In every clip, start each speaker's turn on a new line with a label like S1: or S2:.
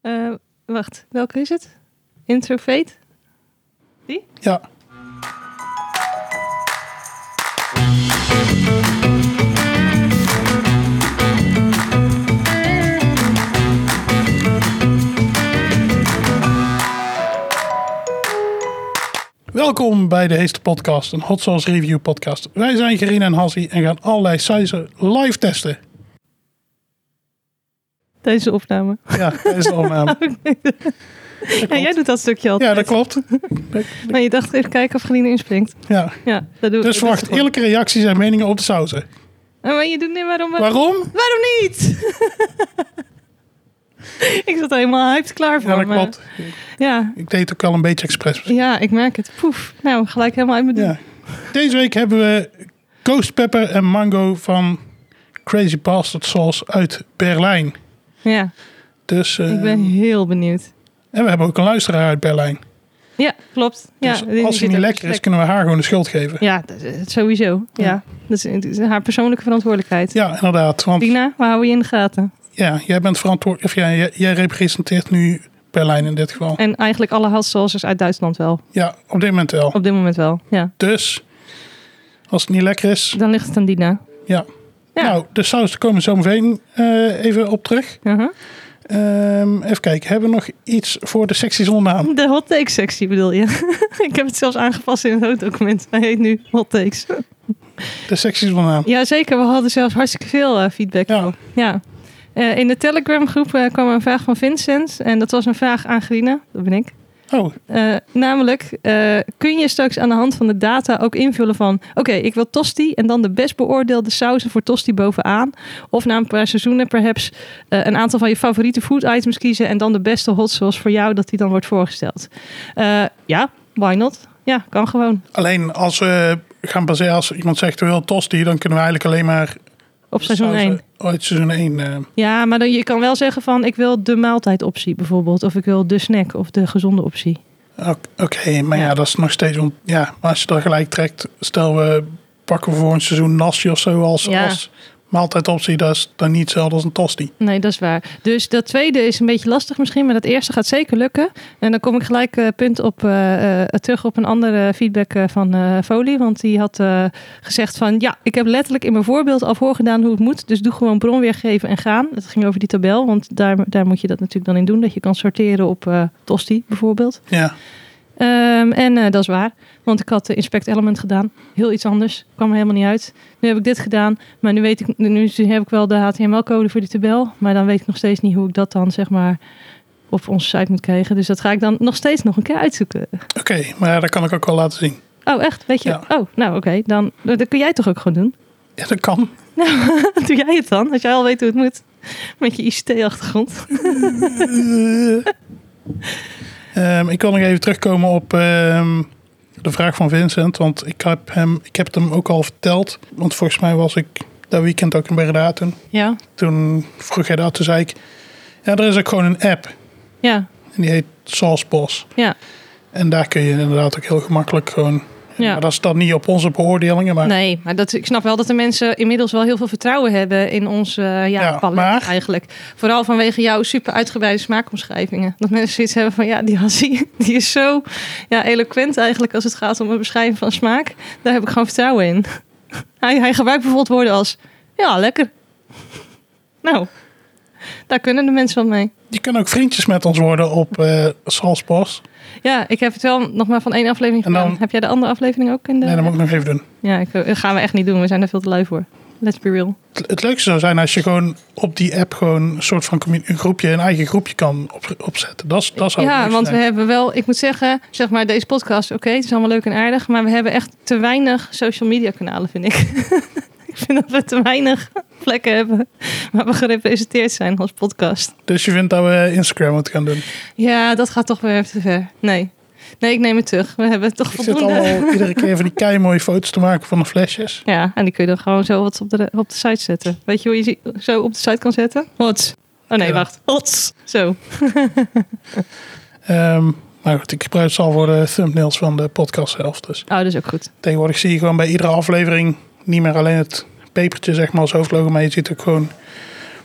S1: Eh, wacht, welke is het? Introfate?
S2: Ja. Welkom bij de Heeste Podcast, een Hot Sauce Review podcast. Wij zijn Gerine en Hassie en gaan allerlei sizen live testen.
S1: Tijdens de opname.
S2: Ja, dat is de opname.
S1: Ja, jij doet dat stukje altijd.
S2: Ja, dat klopt.
S1: Maar je dacht even kijken of Geline inspringt.
S2: Ja.
S1: Ja, dat doe ik.
S2: Dus verwacht
S1: eerlijk.
S2: eerlijke reacties en meningen op de sauzen.
S1: Maar je doet niet waarom...
S2: Waarom?
S1: Waarom niet? ik zat er helemaal hyped klaar voor.
S2: Ja, dat
S1: maar-
S2: klopt.
S1: Ja,
S2: Ik deed het ook wel een beetje expres.
S1: ja, ik merk het. Poef. Nou, gelijk helemaal uit mijn
S2: Ja.
S1: doen.
S2: Deze week hebben we Ghost Pepper en Mango van Crazy Bastard Sauce uit Berlijn.
S1: Ja,
S2: Dus, eh,
S1: ik ben heel benieuwd.
S2: En we hebben ook een luisteraar uit Berlijn.
S1: Ja, klopt. Ja,
S2: Dus
S1: die- die
S2: als
S1: zit
S2: hij niet
S1: ook
S2: lekker
S1: op
S2: is,
S1: de plek.
S2: kunnen we haar gewoon de schuld geven. Ja,
S1: Ja, dat is- sowieso. Ja.
S2: Ja.
S1: Dat, is, dat is haar persoonlijke verantwoordelijkheid.
S2: inderdaad. Want
S1: Dina, we houden je in de gaten.
S2: ja, jij bent verantwoordelijk. Of ja, jij, jij representeert nu Berlijn in dit geval.
S1: En eigenlijk alle hotsalsers uit Duitsland wel.
S2: Ja, op dit moment wel.
S1: Op dit moment wel, ja.
S2: Dus als het niet lekker is,
S1: Dan ligt het aan Dina.
S2: ja.
S1: Ja.
S2: Nou, de saus daar komen we zo meteen eh, even op terug.
S1: Uh-huh.
S2: Ehm, even kijken, hebben we nog iets voor de sectie zonder naam?
S1: De hot take sectie bedoel je? ik heb het zelfs aangepast in het hoofddocument. Hij heet nu hot takes.
S2: De sectie zonder naam.
S1: Jazeker, we hadden zelfs hartstikke veel eh, feedback.
S2: Ja.
S1: Ja. Eh, in de Telegram groep eh, kwam een vraag van Vincent. En dat was een vraag aan Grina, dat ben ik.
S2: Oh,
S1: Eh, namelijk, eh, kun je straks aan de hand van de data ook invullen van... Oké, ik wil tosti en dan de best beoordeelde sauzen voor tosti bovenaan. Of na een paar seizoenen perhaps eh, een aantal van je favoriete food items kiezen... en dan de beste hot sauce voor jou, dat die dan wordt voorgesteld. Eh, ja, why not? Ja, kan gewoon.
S2: alleen als we gaan baseren, als iemand zegt we willen tosti, dan kunnen we eigenlijk alleen maar...
S1: Op seizoen
S2: sauzen
S1: 1.
S2: Uit seizoen eh, 1.
S1: Ja, maar dan, je kan wel zeggen van... ik wil de maaltijdoptie bijvoorbeeld. Of ik wil de snack of de gezonde optie.
S2: Oké, maar ja.
S1: Ja.
S2: dat is nog steeds... on- Ja, maar als je dan gelijk trekt, stel we pakken voor een seizoen nasi of zo als,
S1: Ja.
S2: als maaltijdoptie, dat is dan niet hetzelfde als een tosti.
S1: Nee, dat is waar. Dus dat tweede is een beetje lastig misschien, maar dat eerste gaat zeker lukken. En dan kom ik gelijk eh, punt op, eh, eh, terug op een andere feedback eh, van eh Folie. Want die had eh, gezegd van, ja, ik heb letterlijk in mijn voorbeeld al voorgedaan hoe het moet. Dus doe gewoon bron weergeven en gaan. Dat ging over die tabel, want daar, daar moet je dat natuurlijk dan in doen. Dat je kan sorteren op eh, tosti bijvoorbeeld.
S2: Ja,
S1: Ehm, en eh, dat is waar, want ik had de Inspect Element gedaan. Heel iets anders, kwam er helemaal niet uit. Nu heb ik dit gedaan, maar nu, weet ik, nu heb ik wel de HTML-code voor die tabel. Maar dan weet ik nog steeds niet hoe ik dat dan zeg maar op onze site moet krijgen. Dus dat ga ik dan nog steeds nog een keer uitzoeken.
S2: oké, maar dat kan ik ook wel laten zien.
S1: Oh, echt? Weet je?
S2: Ja.
S1: Oh, nou oké. Dan dat kun jij toch ook gewoon doen?
S2: Ja, dat kan.
S1: Doe jij het dan, als jij al weet hoe het moet. Met je ICT-achtergrond.
S2: Ehm, ik wil nog even terugkomen op ehm, de vraag van Vincent. Want ik heb, hem, ik heb het hem ook al verteld. Want volgens mij was ik dat weekend ook in Breda toen.
S1: Ja,
S2: Toen vroeg hij dat, toen zei ik... Ja, er is ook gewoon een app.
S1: ja,
S2: En die heet Sauceboss.
S1: ja.
S2: En daar kun je inderdaad ook heel gemakkelijk gewoon...
S1: Ja.
S2: Maar dat staat niet op onze beoordelingen, maar...
S1: Nee, maar dat, ik snap wel dat de mensen inmiddels wel heel veel vertrouwen hebben in ons eh ja,
S2: Ja,
S1: palet
S2: maar-
S1: eigenlijk. Vooral vanwege jouw super uitgebreide smaakomschrijvingen. Dat mensen zoiets hebben van, ja, die Hassie, die is zo ja, eloquent eigenlijk als het gaat om het beschrijven van smaak. Daar heb ik gewoon vertrouwen in. Hij, hij gebruikt bijvoorbeeld woorden als, ja, lekker. Nou, daar kunnen de mensen wat mee.
S2: Je kan ook vriendjes met ons worden op eh Sauceboss.
S1: Ja, ik heb het wel nog maar van één aflevering
S2: En dan-
S1: gedaan. Heb jij de andere aflevering ook in de...
S2: Nee, dat moet ik nog even doen.
S1: Ja, ik, dat gaan we echt niet doen. We zijn er veel te lui voor. Let's be real.
S2: Het- Het leukste zou zijn als je gewoon op die app gewoon een soort van commu- een groepje, een eigen groepje kan op, opzetten. Dat, is- dat zou het
S1: ja,
S2: leukste
S1: want we
S2: zijn.
S1: hebben wel, ik moet zeggen, zeg maar deze podcast, oké, het is allemaal leuk en aardig, maar we hebben echt te weinig social media kanalen, vind ik. ik vind dat we te weinig plekken hebben waar we gerepresenteerd zijn als podcast.
S2: Dus je vindt dat we Instagram moeten gaan doen?
S1: Ja, dat gaat toch weer even te ver. Nee, nee, ik neem het terug. We hebben toch
S2: Ik zit
S1: voldoende.
S2: allemaal iedere keer van die kei mooie foto's te maken van de flesjes.
S1: Ja, en die kun je dan gewoon zo wat op de, op de site zetten. Weet je hoe je ze zo op de site kan zetten? Hots. Oh nee,
S2: Ja.
S1: wacht. Hots. Zo. Oh,
S2: Ehm, maar goed, ik gebruik ze al voor de thumbnails van de podcast zelf. Dus
S1: Oh, dat is ook goed.
S2: tegenwoordig zie je gewoon bij iedere aflevering niet meer alleen het pepertje zeg maar als hoofdlogo, maar je ziet ook gewoon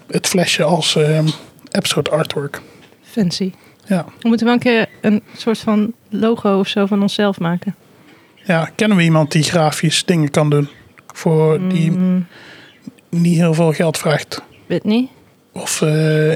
S2: het flesje als ehm episode artwork.
S1: fancy.
S2: Ja.
S1: We moeten wel een keer een soort van logo of zo van onszelf maken.
S2: ja, kennen we iemand die grafisch dingen kan doen? Voor die
S1: Mm,
S2: niet heel veel geld vraagt.
S1: weet niet.
S2: Of eh,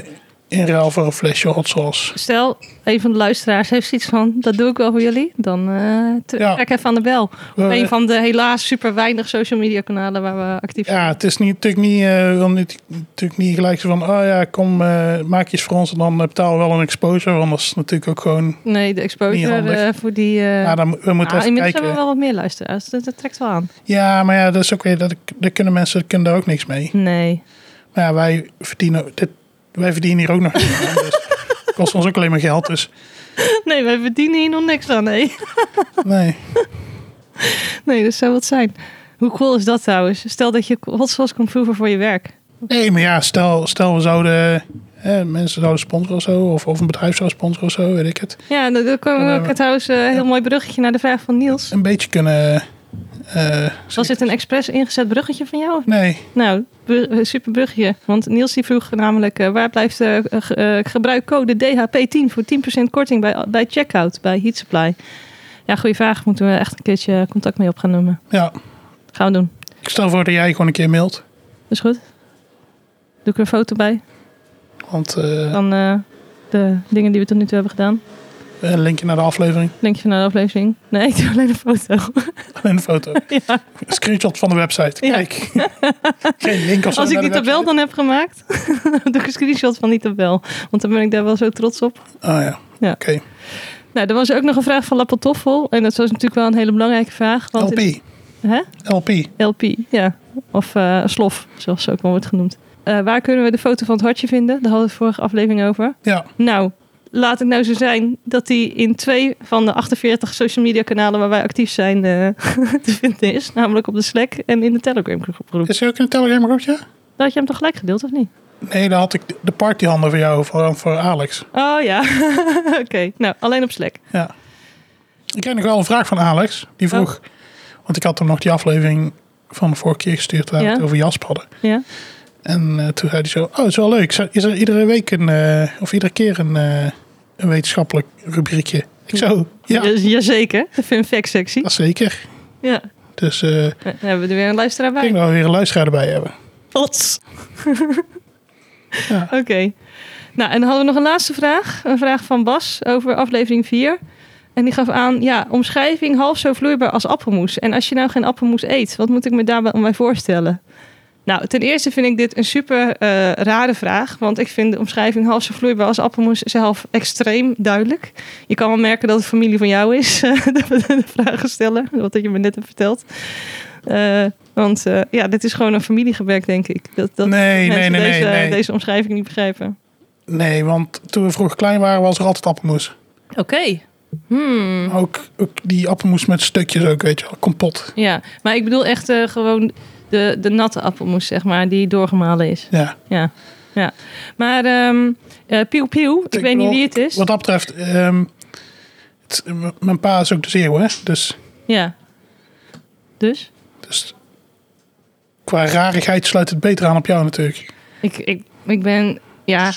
S2: in ruil voor een flesje hot sauce.
S1: Stel, een van de luisteraars heeft iets van, dat doe ik wel voor jullie. Dan eh trek
S2: Ja.
S1: even aan de bel. Op
S2: Eh,
S1: een van de helaas super weinig social media kanalen waar we actief zijn.
S2: Ja, het is niet, natuurlijk niet, eh, wil niet, natuurlijk niet gelijk zo van, oh ja, kom, eh, maak iets voor ons en dan eh, betalen we wel een exposure. Anders natuurlijk ook gewoon,
S1: Nee, de
S2: Niet
S1: exposure
S2: handig.
S1: eh, voor die... eh,
S2: ja, dan, mo- we moeten
S1: ah,
S2: even
S1: inmiddels
S2: kijken.
S1: hebben we wel wat meer luisteraars. Dat, dat trekt wel aan.
S2: Ja, maar ja, dat is ook weer, dat, dat kunnen mensen, kunnen daar ook niks mee.
S1: Nee.
S2: Maar ja, wij verdienen, dit, wij verdienen hier ook nog niks aan, dus het kost ons ook alleen maar geld, dus
S1: Nee, wij verdienen hier nog niks aan. Nee,
S2: nee.
S1: nee dat zou wat zijn. Hoe cool is dat trouwens? Stel dat je hot sauce kan proeven voor je werk.
S2: Nee, maar ja, stel, stel we zouden, eh, mensen zouden sponsoren of zo, of, of een bedrijf zou sponsoren of zo, weet ik het.
S1: Ja, en dan
S2: Dan
S1: komen we
S2: hebben
S1: ook
S2: we-
S1: trouwens eh, een heel mooi bruggetje naar de vraag van Niels.
S2: Een beetje kunnen... eh,
S1: Was dit een expres ingezet bruggetje van jou? of
S2: Nee,
S1: Nou, br- eh, super brugje. Want Niels die vroeg namelijk, eh, waar blijft eh, ge- eh, gebruik code DHP10 voor 10% korting bij, bij checkout bij Heat Supply? Ja, goede vraag. Moeten we echt een keertje contact mee op gaan nemen.
S2: ja.
S1: Gaan we doen.
S2: Ik stel voor dat jij gewoon een keer mailt.
S1: Is goed. Doe ik er een foto bij
S2: Want eh,
S1: van eh, de dingen die we tot nu toe hebben gedaan.
S2: een linkje naar de aflevering.
S1: Linkje naar de aflevering. Nee, ik doe alleen een foto.
S2: Alleen een foto.
S1: Ja.
S2: Een screenshot van de website.
S1: Ja.
S2: Kijk. Geen link of zo.
S1: Als ik
S2: naar
S1: die
S2: de
S1: tabel dan heb gemaakt, doe ik een screenshot van die tabel. Want dan ben ik daar wel zo trots op.
S2: website. Oh ja.
S1: Ja.
S2: Oké.
S1: Nou, er was ook nog een vraag van Lapatoffel. En dat was natuurlijk wel een hele belangrijke vraag. Want
S2: LP.
S1: Hè?
S2: LP.
S1: LP, ja. Of eh, slof, zoals ze ook wel wordt genoemd. Eh, waar kunnen we de foto van het hartje vinden? Daar hadden we vorige aflevering over.
S2: Ja.
S1: Nou, laat het nou zo zijn dat die in twee van de 48 social media kanalen waar wij actief zijn eh, te vinden is. Namelijk op de Slack en in de Telegram groep.
S2: Is er ook een Telegram groepje?
S1: Dat had je hem toch gelijk gedeeld, of niet?
S2: Nee, daar had ik de- de partyhanden voor jou, voor, voor Alex.
S1: Oh ja, oké. Nou, alleen op Slack.
S2: Ja. Ik kreeg nog wel een vraag van Alex. Die vroeg, want ik had hem nog die aflevering van de vorige keer gestuurd waar we
S1: Ja.
S2: het over Jasp hadden.
S1: Ja.
S2: En eh, toen zei hij zo, oh, het is wel leuk. Zo- Is er iedere week een, eh, of iedere keer een, eh, een wetenschappelijk rubriekje? Ik zo, ja,
S1: Ja- Jazeker, de fun fact sectie.
S2: dat zeker.
S1: Ja,
S2: Dus eh, ik
S1: dan hebben we er weer een luisteraar bij.
S2: denk dat we weer een luisteraar erbij hebben.
S1: Pots.
S2: Ja.
S1: Oké. Nou, en dan hadden we nog een laatste vraag. Een vraag van Bas over aflevering 4. En die gaf aan, ja, omschrijving half zo vloeibaar als appelmoes. En als je nou geen appelmoes eet, wat moet ik me daarbij om mij voorstellen? Nou, ten eerste vind ik dit een super eh, rare vraag. Want ik vind de omschrijving half zo vloeibaar als appelmoes zelf extreem duidelijk. Je kan wel merken dat het familie van jou is. eh, de, de vragensteller, wat je me net hebt verteld. Eh, want eh, ja, dit is gewoon een familiegebrek, denk ik. Dat, dat
S2: Nee, nee,
S1: mensen
S2: nee, nee,
S1: deze,
S2: nee.
S1: deze omschrijving niet begrijpen.
S2: Nee, want toen we vroeger klein waren was er altijd appelmoes.
S1: Oké. Hmm.
S2: Ook, ook die appelmoes met stukjes ook, weet je wel, kompot.
S1: Ja, maar ik bedoel echt eh, gewoon de, de natte appelmoes, zeg maar, die doorgemalen is.
S2: Ja.
S1: Ja, ja. Maar ehm eh Piu Piu, ik,
S2: Ik
S1: weet niet
S2: bedoel,
S1: wie het is.
S2: Wat dat betreft, ehm, het- m- mijn pa is ook de zeeuw, hè. Dus,
S1: Ja. Dus?
S2: dus qua rarigheid sluit het beter aan op jou natuurlijk.
S1: Ik, ik, ik ben, ja,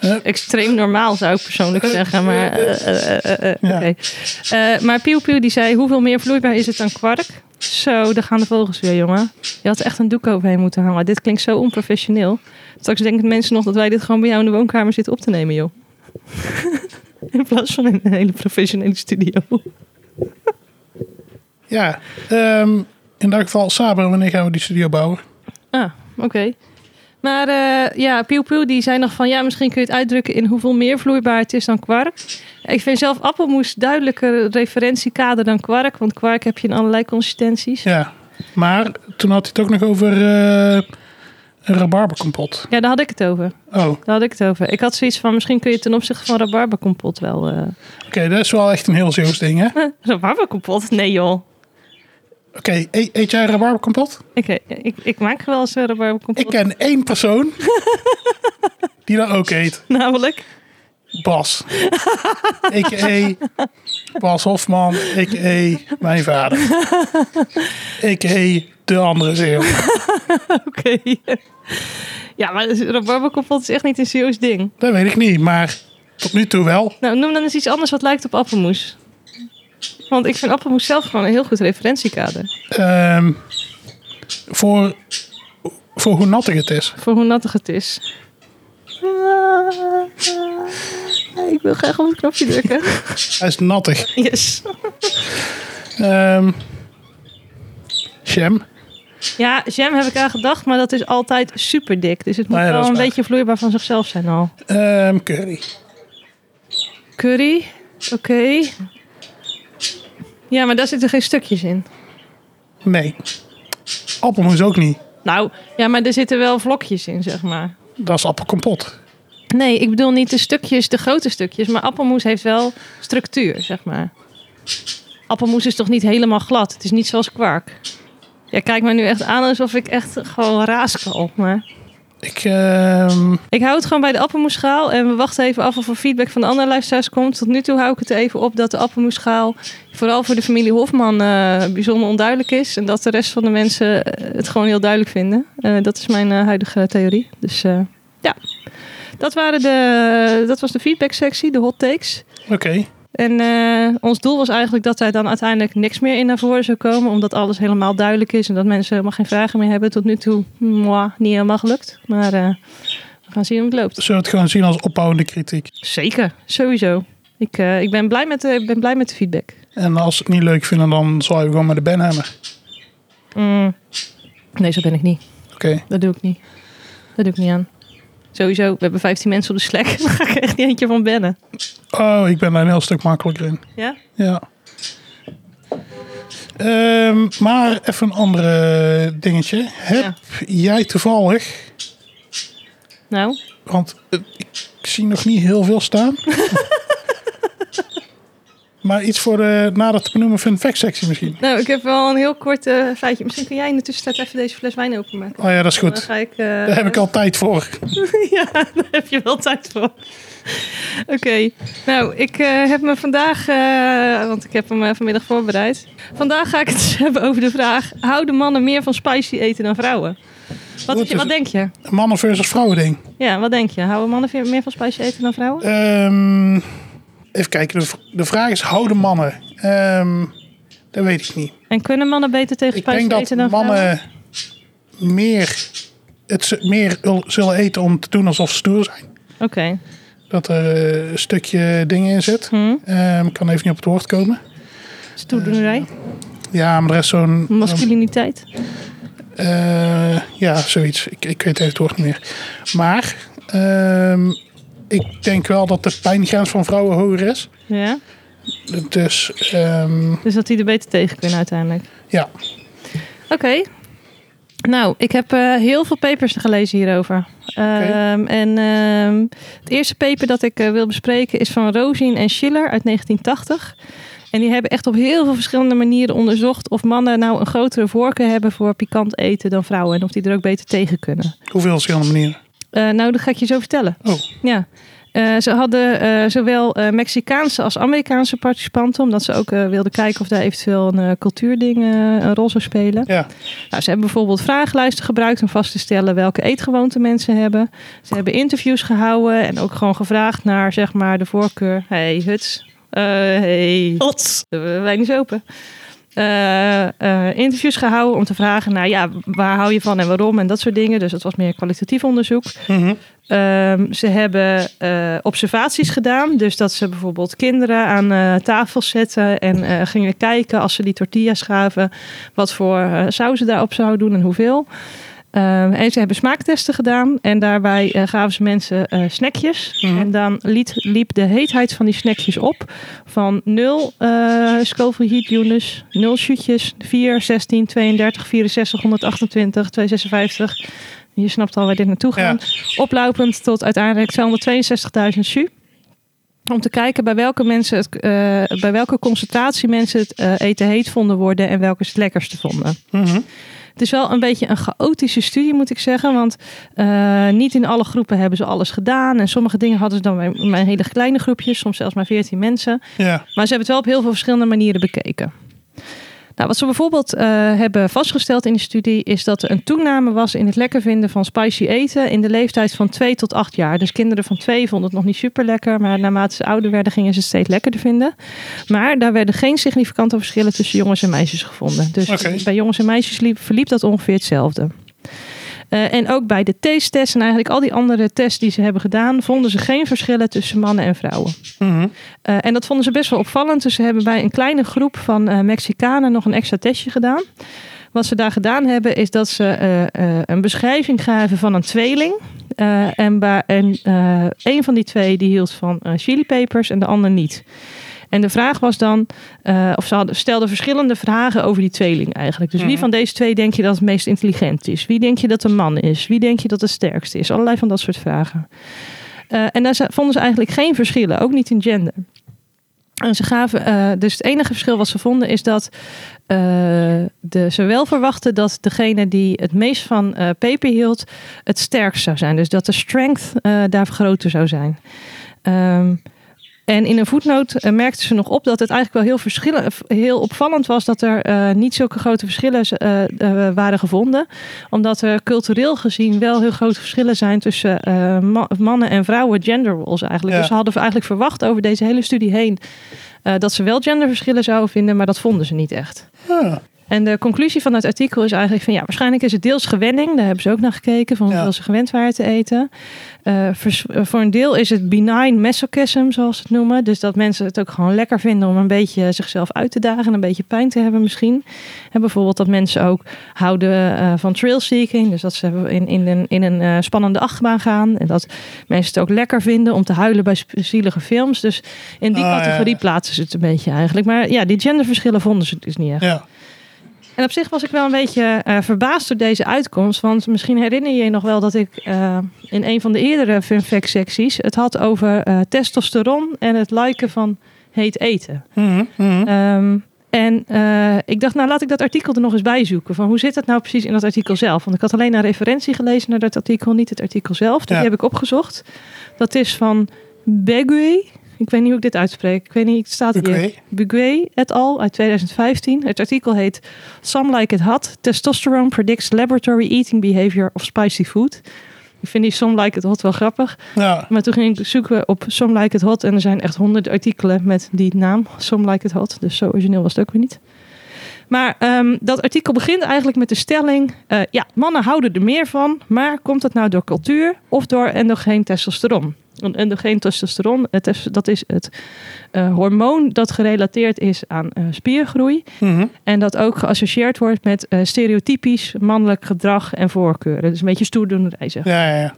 S2: Eh?
S1: extreem normaal zou ik persoonlijk zeggen. Maar, eh, eh, eh, eh,
S2: Ja.
S1: oké. Eh, maar Piu Piu die zei, hoeveel meer vloeibaar is het dan kwark? Zo, daar gaan de vogels weer, jongen. Je had echt een doek overheen moeten hangen. Dit klinkt zo onprofessioneel. Straks denken mensen nog dat wij dit gewoon bij jou in de woonkamer zitten op te nemen, joh. in plaats van in een hele professionele studio.
S2: Ja, ehm, in dat geval, Saber, wanneer gaan we die studio bouwen?
S1: Ah, oké. Maar eh, ja, Piu Piu die zei nog van... ja, misschien kun je het uitdrukken in hoeveel meer vloeibaar het is dan kwark. Ik vind zelf appelmoes duidelijker referentiekader dan kwark... want kwark heb je in allerlei consistenties. Ja,
S2: Ja, maar toen had hij het ook nog over eh een rabarberkompot.
S1: daar had ik het over.
S2: Oh, oké,
S1: Daar had ik het over. Ik had zoiets van... misschien kun je ten opzichte van rabarberkompot wel... eh
S2: dat is wel echt een heel Zeeuws ding, hè? Oké,
S1: rabarberkompot? Nee joh.
S2: e- eet jij rabarberkompot?
S1: Ik, ik, ik maak wel eens eh,
S2: Ik
S1: rabarberkompot.
S2: ken één persoon die dat ook eet.
S1: Namelijk...
S2: Bas. A.k.a. Bas Hofman, a.k.a. mijn vader. A.k.a. de andere Zeeuw.
S1: Oké. ja, maar rabarberkompot is echt niet een serieus ding.
S2: Dat weet ik niet, maar Tot nu toe wel.
S1: Nou, noem dan eens iets anders wat lijkt op appelmoes. Want ik vind appelmoes zelf gewoon een heel goed referentiekader.
S2: Ehm, voor, voor hoe nattig het is.
S1: Voor hoe nattig het is. Ik wil graag op het knopje drukken.
S2: Hij is nattig.
S1: Yes.
S2: Ehm jam.
S1: Ja, jam heb ik aan gedacht, maar dat is altijd super dik. Dus het moet
S2: Nou ja, dat
S1: wel
S2: is
S1: een
S2: waar.
S1: beetje vloeibaar van zichzelf zijn al.
S2: Ehm, curry.
S1: Curry, oké. Ja, maar daar zitten geen stukjes in.
S2: Nee. Appelmoes ook niet.
S1: Nou, ja, maar er zitten wel vlokjes in, zeg maar.
S2: Dat is appelkompot.
S1: Nee, ik bedoel niet de stukjes, de grote stukjes, maar appelmoes heeft wel structuur, zeg maar. Appelmoes is toch niet helemaal glad? Het is niet zoals kwark. Ja, kijk mij nu echt aan alsof ik echt gewoon raaskal. Maar
S2: Ik, ehm,
S1: ik hou het gewoon bij de appelmoesschaal en we wachten even af of er feedback van de andere luisteraars komt. Tot nu toe hou ik het er even op dat de appelmoesschaal vooral voor de familie Hofman eh, bijzonder onduidelijk is. En dat de rest van de mensen eh, het gewoon heel duidelijk vinden. Eh, dat is mijn eh, huidige theorie. Dus eh, ja, dat, waren de, dat was de feedback-sectie, de hot takes.
S2: oké.
S1: En eh, ons doel was eigenlijk dat daar dan uiteindelijk niks meer in naar voren zou komen. Omdat alles helemaal duidelijk is en dat mensen helemaal geen vragen meer hebben. Tot nu toe, mwah, niet helemaal gelukt. Maar eh, we gaan zien hoe het loopt.
S2: Zullen we het gewoon zien als opbouwende kritiek?
S1: Zeker, sowieso. Ik, eh, ik, ben, blij met de, ik ben blij met de feedback.
S2: En als ze het niet leuk vinden, dan zwaaien we gewoon met de benhammer.
S1: Mm. Nee, zo ben ik niet.
S2: Oké.
S1: Dat doe ik niet. Dat doe ik niet aan. Sowieso, we hebben 15 mensen op de Slack. Daar ga ik echt niet eentje van bennen.
S2: Oh, ik ben daar een heel stuk makkelijker in.
S1: Ja?
S2: Ja. Ehm, maar even een ander dingetje. Heb
S1: Ja.
S2: jij toevallig,
S1: Nou,
S2: want eh, ik zie nog niet heel veel staan. maar iets voor de nader te benoemen fun fact sectie misschien.
S1: nou, ik heb wel een heel kort eh, feitje. Misschien kun jij in de tussentijd even deze fles wijn openmaken.
S2: Oh ja, dat is
S1: Dan
S2: goed.
S1: ga ik... eh,
S2: Daar heb ik al tijd voor.
S1: Ja, daar heb je wel tijd voor. Oké, nou, ik eh, heb me vandaag, eh, want ik heb hem eh, vanmiddag voorbereid. Vandaag ga ik het eens hebben over de vraag: houden mannen meer van spicy eten dan vrouwen? Wat,
S2: Wat
S1: wat,
S2: is-
S1: denk je?
S2: Mannen versus vrouwen ding.
S1: Ja, wat denk je? Houden mannen veel- meer van spicy eten dan vrouwen?
S2: Ehm, even kijken, de, v- de vraag is: houden mannen? Ehm, dat weet ik niet.
S1: En kunnen mannen beter tegen
S2: Ik
S1: spicy
S2: denk dat
S1: eten dan vrouwen?
S2: mannen meer, het z- meer ul- zullen eten om te doen alsof ze stoer zijn.
S1: Oké,
S2: Dat er eh, een stukje dingen in zit.
S1: hm.
S2: Ehm, ik kan even niet op het woord komen.
S1: stoerdoenerij,
S2: Eh, Ja, maar er is zo'n.
S1: masculiniteit.
S2: eh, ja, zoiets. Ik, ik weet even het woord niet meer. Maar ehm, ik denk wel dat de pijngrens van vrouwen hoger is.
S1: Ja,
S2: Dus ehm,
S1: dus dat die er beter tegen kunnen uiteindelijk.
S2: ja,
S1: Oké. Nou, ik heb eh, heel veel papers gelezen hierover. Ehm, En ehm, het eerste paper dat ik eh, wil bespreken is van Rosin en Schiller uit 1980. En die hebben echt op heel veel verschillende manieren onderzocht of mannen nou een grotere voorkeur hebben voor pikant eten dan vrouwen. En of die er ook beter tegen kunnen.
S2: hoeveel verschillende manieren.
S1: Eh, nou, dat ga ik je zo vertellen.
S2: Oh.
S1: Ja. Eh, ze hadden eh, zowel eh, Mexicaanse als Amerikaanse participanten, omdat ze ook eh, wilden kijken of daar eventueel een eh, cultuurding eh, een rol zou spelen.
S2: Ja.
S1: Nou, ze hebben bijvoorbeeld vragenlijsten gebruikt om vast te stellen welke eetgewoonten mensen hebben. Ze hebben interviews gehouden en ook gewoon gevraagd naar zeg maar de voorkeur. Hey, huts. Eh, hey. Hots. Wijn is open. Eh, eh, interviews gehouden om te vragen naar ja, waar hou je van en waarom en dat soort dingen. Dus dat was meer kwalitatief onderzoek.
S2: Mhm.
S1: Ehm, ze hebben eh, observaties gedaan. Dus dat ze bijvoorbeeld kinderen aan eh tafel zetten en eh, gingen kijken als ze die tortillas schaven, wat voor eh, saus ze daarop zouden doen en hoeveel. Ehm, en ze hebben smaaktesten gedaan en daarbij eh, gaven ze mensen eh, snackjes.
S2: Mhm.
S1: En dan liet, liep de heetheid van die snackjes op van 0 eh Scoville heat units, 0 shootjes, 4, 16, 32, 64, 128, 256. Je snapt al waar dit naartoe
S2: Ja.
S1: gaat oplopend tot uiteindelijk 262.000 su. Om te kijken bij welke, mensen het, eh, bij welke concentratie mensen het eh, eten heet vonden worden en welke ze het lekkerste vonden.
S2: Mhm.
S1: Het is wel een beetje een chaotische studie, moet ik zeggen. Want eh, niet in alle groepen hebben ze alles gedaan. En sommige dingen hadden ze dan bij, bij hele kleine groepjes, soms zelfs maar 14 mensen.
S2: Ja.
S1: Maar ze hebben het wel op heel veel verschillende manieren bekeken. Nou, wat ze bijvoorbeeld eh, hebben vastgesteld in de studie is dat er een toename was in het lekker vinden van spicy eten in de leeftijd van 2 tot 8 jaar. Dus kinderen van 2 vonden het nog niet super lekker, maar naarmate ze ouder werden gingen ze het steeds lekkerder vinden. Maar daar werden geen significante verschillen tussen jongens en meisjes gevonden. Dus
S2: Oké.
S1: bij jongens en meisjes liep, verliep dat ongeveer hetzelfde. Eh, en ook bij de taste test en eigenlijk al die andere tests die ze hebben gedaan, vonden ze geen verschillen tussen mannen en vrouwen.
S2: Mhm.
S1: Eh, en dat vonden ze best wel opvallend. Dus ze hebben bij een kleine groep van eh, Mexicanen nog een extra testje gedaan. Wat ze daar gedaan hebben is dat ze eh, eh, een beschrijving gaven van een tweeling. Eh, en bij en, eh, een van die twee die hield van eh chilipepers en de ander niet. En de vraag was dan, eh, of ze hadden, stelden verschillende vragen over die tweeling eigenlijk. Dus wie
S2: Mhm.
S1: van deze twee denk je dat het meest intelligent is? Wie denk je dat een man is? Wie denk je dat de sterkste is? Allerlei van dat soort vragen. Eh, en daar ze- vonden ze eigenlijk geen verschillen, ook niet in gender. En ze gaven, eh, dus het enige verschil wat ze vonden is dat eh, de, ze wel verwachten dat degene die het meest van eh, peper hield, het sterkst zou zijn. Dus dat de strength eh, daar groter zou zijn. Ehm, en in een voetnoot eh, merkten ze nog op dat het eigenlijk wel heel, verschillen, heel opvallend was dat er eh, niet zulke grote verschillen eh, eh, waren gevonden. Omdat er cultureel gezien wel heel grote verschillen zijn tussen eh, ma- mannen en vrouwen, gender roles eigenlijk.
S2: Ja.
S1: Dus ze hadden eigenlijk verwacht over deze hele studie heen eh, dat ze wel genderverschillen zouden vinden, maar dat vonden ze niet echt.
S2: Ah,
S1: En de conclusie van het artikel is eigenlijk van ja, waarschijnlijk is het deels gewenning. Daar hebben ze ook naar gekeken van hoeveel
S2: Ja.
S1: ze gewend waren te eten. Eh, vers- eh, voor een deel is het benign masochism, zoals ze het noemen. Dus dat mensen het ook gewoon lekker vinden om een beetje zichzelf uit te dagen en een beetje pijn te hebben misschien. En bijvoorbeeld dat mensen ook houden eh, van trailseeking. Dus dat ze in, in een, in een eh, spannende achtbaan gaan. En dat mensen het ook lekker vinden om te huilen bij sp- zielige films. Dus in die
S2: Ah, ja.
S1: categorie plaatsen ze het een beetje eigenlijk. Maar ja, die genderverschillen vonden ze dus niet echt.
S2: ja.
S1: En op zich was ik wel een beetje eh, verbaasd door deze uitkomst. Want misschien herinner je je nog wel dat ik eh, in een van de eerdere fun fact secties het had over eh, testosteron en het liken van heet eten.
S2: Mhm, mhm.
S1: Ehm, en eh, ik dacht, nou laat ik dat artikel er nog eens bij zoeken. Van hoe zit dat nou precies in dat artikel zelf? Want ik had alleen een referentie gelezen naar dat artikel, niet het artikel zelf. Dus
S2: Ja.
S1: die heb ik opgezocht. Dat is van Begui. Ik weet niet hoe ik dit uitspreek. Ik weet niet, het staat hier.
S2: Oké.
S1: Buguet et al. uit 2015. Het artikel heet Some Like It Hot. Testosterone predicts laboratory eating behavior of spicy food. Ik vind die Some Like It Hot wel grappig.
S2: Ja.
S1: Maar toen ging ik zoeken op Some Like It Hot. En er zijn echt honderden artikelen met die naam. Some Like It Hot. Dus zo origineel was het ook weer niet. Maar ehm, dat artikel begint eigenlijk met de stelling... eh, ja, mannen houden er meer van. Maar komt dat nou door cultuur of door endogeen testosteron? Een endogeen testosteron, het is, dat is het eh, hormoon dat gerelateerd is aan eh, spiergroei.
S2: Mhm.
S1: En dat ook geassocieerd wordt met eh, stereotypisch mannelijk gedrag en voorkeuren. Dus een beetje stoerdoenerij, zeg
S2: Ja, ja, ja.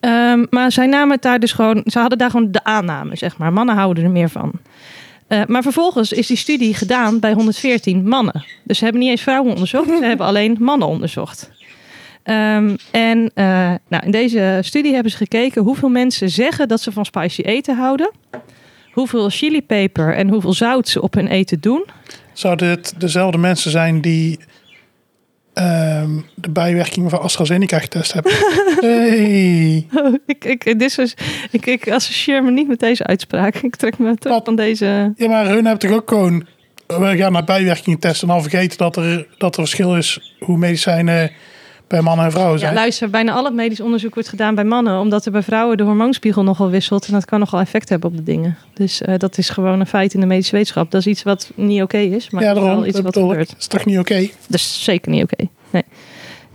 S1: Ehm, maar zij namen het daar dus gewoon, ze hadden daar gewoon de aanname, zeg maar. Mannen houden er meer van. Eh, maar vervolgens is die studie gedaan bij 114 mannen. Dus ze hebben niet eens vrouwen onderzocht, ze hebben alleen mannen onderzocht. Ehm, en eh, nou, in deze studie hebben ze gekeken hoeveel mensen zeggen dat ze van spicy eten houden. Hoeveel chilipeper en hoeveel zout ze op hun eten doen.
S2: Zouden dit dezelfde mensen zijn die ehm, de bijwerkingen van AstraZeneca getest hebben? hey.
S1: ik, ik, dit is, ik, ik associeer me niet met deze uitspraak. Ik trek me terug
S2: Wat?
S1: van deze.
S2: Ja, maar hun hebben toch ook gewoon... We gaan naar bijwerkingen testen en dan vergeten dat er, dat er verschil is hoe medicijnen bij mannen en vrouwen
S1: Ja,
S2: zijn.
S1: luister, bijna al het medisch onderzoek wordt gedaan bij mannen, omdat er bij vrouwen de hormoonspiegel nogal wisselt en dat kan nogal effect hebben op de dingen. Dus eh, dat is gewoon een feit in de medische wetenschap. Dat is iets wat niet oké is, maar
S2: ja,
S1: het is
S2: daarom.
S1: wel iets
S2: Dat
S1: wat
S2: bedoel ik.
S1: gebeurt.
S2: is toch niet oké?
S1: Dus zeker niet oké. Nee.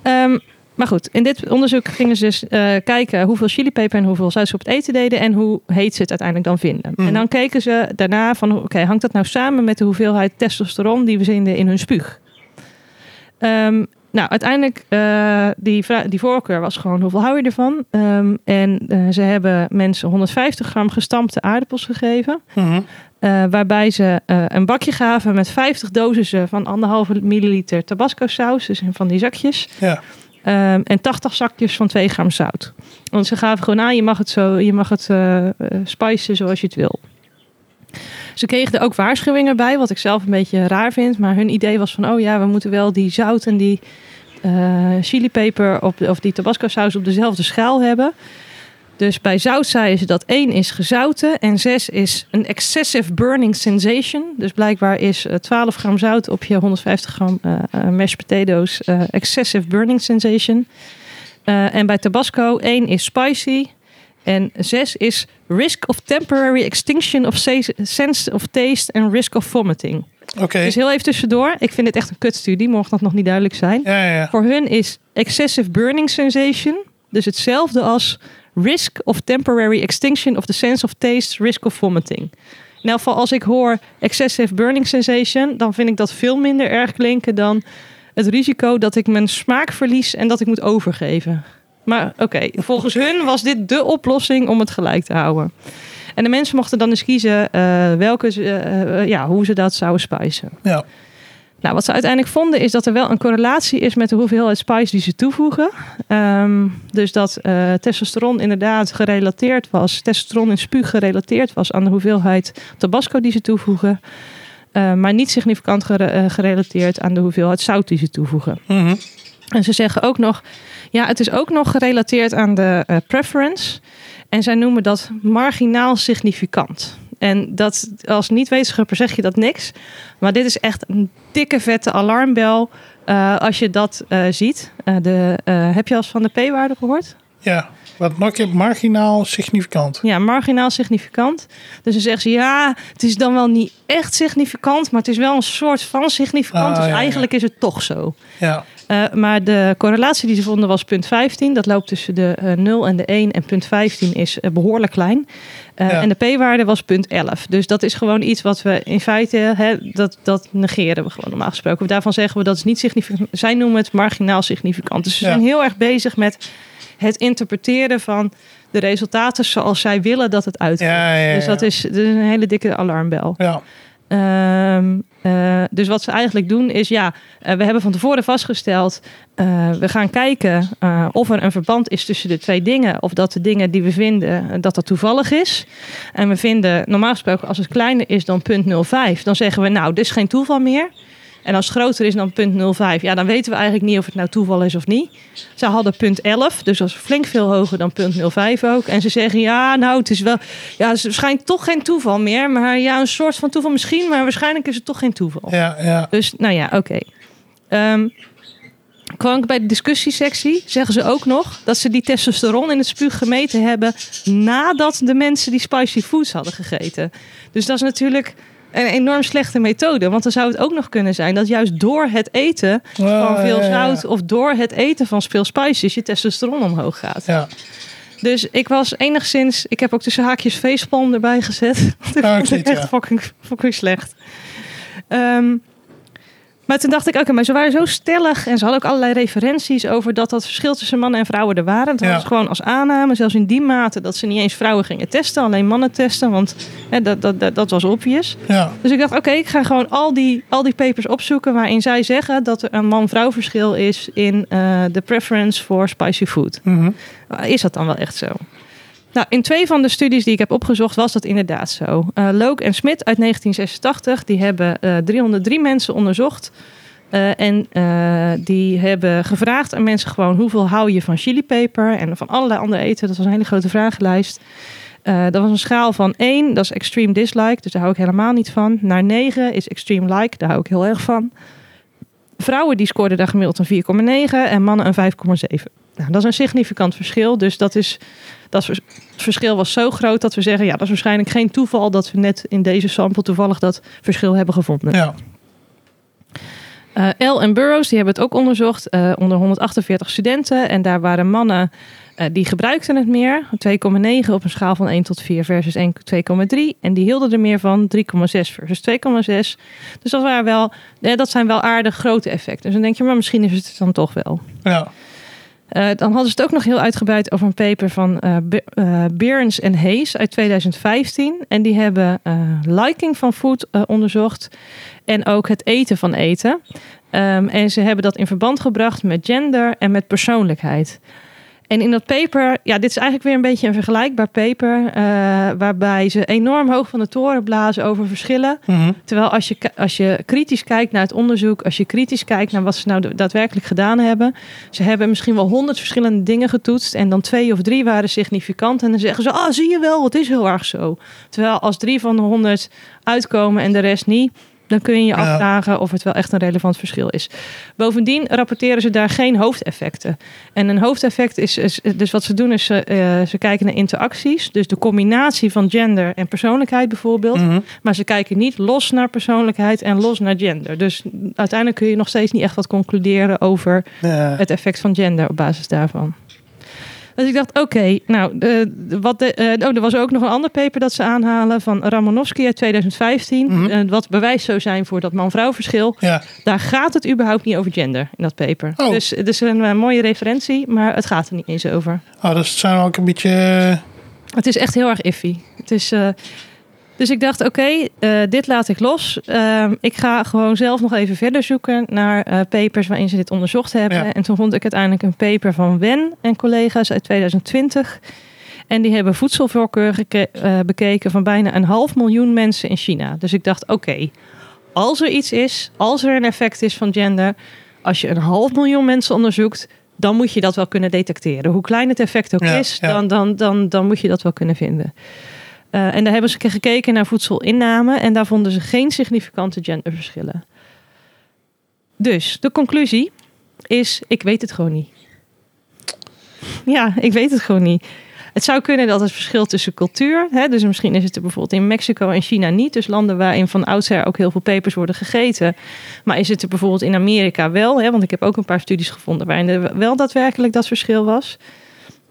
S1: Ehm, maar goed, in dit onderzoek gingen ze dus eh, kijken hoeveel chilipeper en hoeveel zout ze op het eten deden en hoe heet ze het uiteindelijk dan vinden.
S2: Mhm.
S1: En dan keken ze daarna van, oké, hangt dat nou samen met de hoeveelheid testosteron die we vinden in hun spuug? Ehm, nou, uiteindelijk, eh, die, vra- die voorkeur was gewoon hoeveel hou je ervan? Ehm, en eh, ze hebben mensen 150 gram gestampte aardappels gegeven.
S2: Mhm.
S1: Eh, waarbij ze eh, een bakje gaven met 50 dosissen van anderhalve milliliter tabasco saus, dus in van die zakjes.
S2: Ja.
S1: Ehm, en 80 zakjes van 2 gram zout. Want ze gaven gewoon aan, je mag het, zo, je mag het eh eh, spicen zoals je het wil. Ze kregen er ook waarschuwingen bij, wat ik zelf een beetje raar vind. Maar hun idee was van, oh ja, we moeten wel die zout en die eh chilipeper op, of die tabasco saus op dezelfde schaal hebben. Dus bij zout zeiden ze dat 1 is gezouten en 6 is een excessive burning sensation. Dus blijkbaar is eh, 12 gram zout op je 150 gram eh eh, mashed potatoes eh, excessive burning sensation. Eh, en bij Tabasco 1 is spicy en 6 is risk of temporary extinction of se- sense of taste en risk of vomiting.
S2: Oké.
S1: Dus heel even tussendoor, ik vind dit echt een kutstudie, mocht dat nog niet duidelijk zijn.
S2: Ja, ja, ja.
S1: Voor hun is excessive burning sensation dus hetzelfde als risk of temporary extinction of the sense of taste, risk of vomiting. In elk geval, als ik hoor excessive burning sensation, dan vind ik dat veel minder erg klinken dan het risico dat ik mijn smaak verlies en dat ik moet overgeven. Maar oké, volgens hun was dit de oplossing om het gelijk te houden. En de mensen mochten dan eens kiezen eh, welke, ze- eh, eh, ja, hoe ze dat zouden spijzen.
S2: ja.
S1: Nou, wat ze uiteindelijk vonden is dat er wel een correlatie is met de hoeveelheid spice die ze toevoegen. Ehm, dus dat eh, testosteron inderdaad gerelateerd was, testosteron in spuug gerelateerd was aan de hoeveelheid tabasco die ze toevoegen. Eh, maar niet significant gere- eh, gerelateerd aan de hoeveelheid zout die ze toevoegen.
S2: Mhm.
S1: En ze zeggen ook nog, ja, het is ook nog gerelateerd aan de eh, preference. En zij noemen dat marginaal significant. En dat, als niet-wetenschapper zeg je dat niks. Maar dit is echt een dikke vette alarmbel eh, als je dat eh, ziet. Eh, de, eh, heb je al eens van de P-waarde gehoord?
S2: Ja. Wat nog een keer marginaal significant.
S1: Ja, marginaal significant. Dus dan zeggen ze, ja, het is dan wel niet echt significant, maar het is wel een soort van significant.
S2: Ah,
S1: dus
S2: ja, ja.
S1: eigenlijk is het toch zo.
S2: Ja.
S1: Eh, maar de correlatie die ze vonden was punt 15. Dat loopt tussen de eh, 0 en de 1. En punt 15 is eh, behoorlijk klein. Eh,
S2: Ja.
S1: En de p-waarde was punt 11. Dus dat is gewoon iets wat we in feite... Hè, dat, dat negeren we gewoon normaal gesproken. Daarvan zeggen we dat is niet significant. Zij noemen het marginaal significant. Dus ze
S2: Ja.
S1: zijn heel erg bezig met het interpreteren van de resultaten... zoals zij willen dat het uitkomt.
S2: Ja, ja, ja.
S1: Dus dat is, dat is een hele dikke alarmbel.
S2: Ja.
S1: Ehm, eh, dus wat ze eigenlijk doen is, ja, eh, we hebben van tevoren vastgesteld, eh, we gaan kijken eh, of er een verband is tussen de twee dingen, of dat de dingen die we vinden, eh, dat dat toevallig is. En we vinden, normaal gesproken, als het kleiner is dan 0,05, dan zeggen we, nou, dit is geen toeval meer. En als het groter is dan 0,05, ja, dan weten we eigenlijk niet of het nou toeval is of niet. Ze hadden 0,11, dus dat is flink veel hoger dan 0,05 ook. En ze zeggen, ja, nou, het is wel, ja, het schijnt toch geen toeval meer. Maar ja, een soort van toeval misschien, maar waarschijnlijk is het toch geen toeval.
S2: Ja. Ja.
S1: Dus nou ja, oké. Ehm kwam ik bij de discussiesectie, zeggen ze ook nog dat ze die testosteron in het spuug gemeten hebben nadat de mensen die spicy foods hadden gegeten. Dus dat is natuurlijk een enorm slechte methode, want dan zou het ook nog kunnen zijn dat juist door het eten van
S2: Ah,
S1: veel
S2: ja, ja, ja.
S1: zout of door het eten van veel spices je testosteron omhoog gaat.
S2: Ja.
S1: Dus ik was enigszins... Ik heb ook tussen haakjes facepalm erbij gezet. Want ik
S2: Ja, ik
S1: vond
S2: zie
S1: het
S2: het,
S1: echt
S2: Ah, ja.
S1: fucking, fucking slecht. Ehm, maar toen dacht ik, oké, maar ze waren zo stellig. En ze hadden ook allerlei referenties over dat dat verschil tussen mannen en vrouwen er waren. Dat
S2: Ja.
S1: was gewoon als aanname, zelfs in die mate dat ze niet eens vrouwen gingen testen. Alleen mannen testen, want hè, dat, dat, dat, dat was obvious.
S2: Ja.
S1: Dus ik dacht, oké, ik ga gewoon al die, al die papers opzoeken waarin zij zeggen dat er een man-vrouw verschil is in eh, de preference voor spicy food.
S2: Mhm.
S1: Maar Eh, Is dat dan wel echt zo? Nou, in twee van de studies die ik heb opgezocht was dat inderdaad zo. Eh Loke en Smit uit 1986, die hebben eh, 303 mensen onderzocht. Eh, en eh, die hebben gevraagd aan mensen gewoon hoeveel hou je van chilipeper en van allerlei andere eten. Dat was een hele grote vragenlijst. Eh, dat was een schaal van 1, dat is extreme dislike, dus daar hou ik helemaal niet van. Naar 9 is extreme like, daar hou ik heel erg van. Vrouwen die scoorden daar gemiddeld een 4,9 en mannen een 5,7. Nou, dat is een significant verschil. Dus dat is, dat vers- het verschil was zo groot dat we zeggen... ja, dat is waarschijnlijk geen toeval dat we net in deze sample toevallig dat verschil hebben gevonden.
S2: Ja.
S1: Eh L en Burroughs die hebben het ook onderzocht eh, onder 148 studenten. En daar waren mannen eh, die gebruikten het meer. 2,9 op een schaal van 1 tot 4 versus 1 2,3. En die hielden er meer van 3,6 versus 2,6. Dus dat, waren wel, eh, dat zijn wel aardig grote effecten. Dus dan denk je, maar misschien is het dan toch wel.
S2: Ja.
S1: Eh, dan hadden ze het ook nog heel uitgebreid over een paper van eh Be- eh, Behrens en Hayes uit 2015. En die hebben eh, liking van food eh, onderzocht en ook het eten van eten. Ehm, en ze hebben dat in verband gebracht met gender en met persoonlijkheid. En in dat paper, ja, dit is eigenlijk weer een beetje een vergelijkbaar paper. eh, waarbij ze enorm hoog van de toren blazen over verschillen.
S2: Mhm.
S1: Terwijl als je, ki- als je kritisch kijkt naar het onderzoek, als je kritisch kijkt naar wat ze nou daadwerkelijk gedaan hebben. Ze hebben misschien wel honderd verschillende dingen getoetst en dan twee of drie waren significant. En dan zeggen ze, ah zie je wel, het is heel erg zo. Terwijl als drie van de honderd uitkomen en de rest niet, dan kun je je
S2: Ja.
S1: afvragen of het wel echt een relevant verschil is. Bovendien rapporteren ze daar geen hoofdeffecten. En een hoofdeffect is, is- dus wat ze doen is, ze, eh, ze kijken naar interacties. Dus de combinatie van gender en persoonlijkheid bijvoorbeeld.
S2: Mhm.
S1: Maar ze kijken niet los naar persoonlijkheid en los naar gender. Dus uiteindelijk kun je nog steeds niet echt wat concluderen over
S2: Ja.
S1: het effect van gender op basis daarvan. Dus ik dacht, oké, nou, de, de- wat de, eh, oh, er was ook nog een ander paper dat ze aanhalen van Ramonowski uit 2015.
S2: Mhm.
S1: eh, wat bewijs zou zijn voor dat man-vrouw verschil.
S2: ja.
S1: Daar gaat het überhaupt niet over gender in dat paper.
S2: Oh.
S1: Dus het is een eh, mooie referentie, maar het gaat er niet eens over.
S2: Ah, dus het zijn ook een beetje... eh,
S1: Het is echt heel erg iffy. Het is, eh, dus ik dacht, oké, eh, dit laat ik los. Ehm, ik ga gewoon zelf nog even verder zoeken naar eh, papers waarin ze dit onderzocht hebben.
S2: Ja.
S1: En toen vond ik uiteindelijk een paper van Wen en collega's uit 2020. En die hebben voedselvoorkeur geke- eh, bekeken van bijna een half miljoen mensen in China. Dus ik dacht, oké, als er iets is, als er een effect is van gender, als je een half miljoen mensen onderzoekt, dan moet je dat wel kunnen detecteren. Hoe klein het effect ook
S2: Ja,
S1: is,
S2: ja.
S1: Dan, dan, dan, dan moet je dat wel kunnen vinden. Eh, en daar hebben ze gekeken naar voedselinname en daar vonden ze geen significante genderverschillen. Dus de conclusie is: ik weet het gewoon niet. Ja, ik weet het gewoon niet. Het zou kunnen dat het verschil tussen cultuur, hè, dus misschien is het er bijvoorbeeld in Mexico en China niet, dus landen waarin van oudsher ook heel veel pepers worden gegeten, maar is het er bijvoorbeeld in Amerika wel? Hè? Want ik heb ook een paar studies gevonden waarin er wel daadwerkelijk dat verschil was.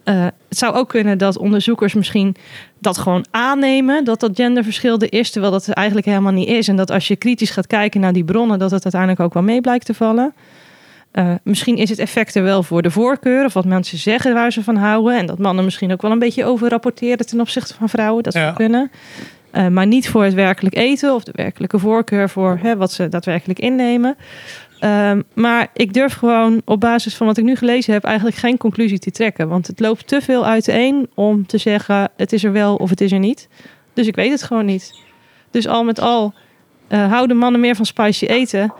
S1: Eh, het zou ook kunnen dat onderzoekers misschien dat gewoon aannemen, dat dat genderverschil er is, terwijl dat er eigenlijk helemaal niet is. En dat als je kritisch gaat kijken naar die bronnen, dat het uiteindelijk ook wel mee blijkt te vallen. Eh, misschien is het effect er wel voor de voorkeur of wat mensen zeggen waar ze van houden. En dat mannen misschien ook wel een beetje over rapporteren ten opzichte van vrouwen. Dat
S2: Ja.
S1: zou kunnen. Eh, maar niet voor het werkelijk eten of de werkelijke voorkeur voor hè, wat ze daadwerkelijk innemen. Ehm, maar ik durf gewoon op basis van wat ik nu gelezen heb eigenlijk geen conclusie te trekken. Want het loopt te veel uiteen om te zeggen het is er wel of het is er niet. Dus ik weet het gewoon niet. Dus al met al eh, houden mannen meer van spicy eten.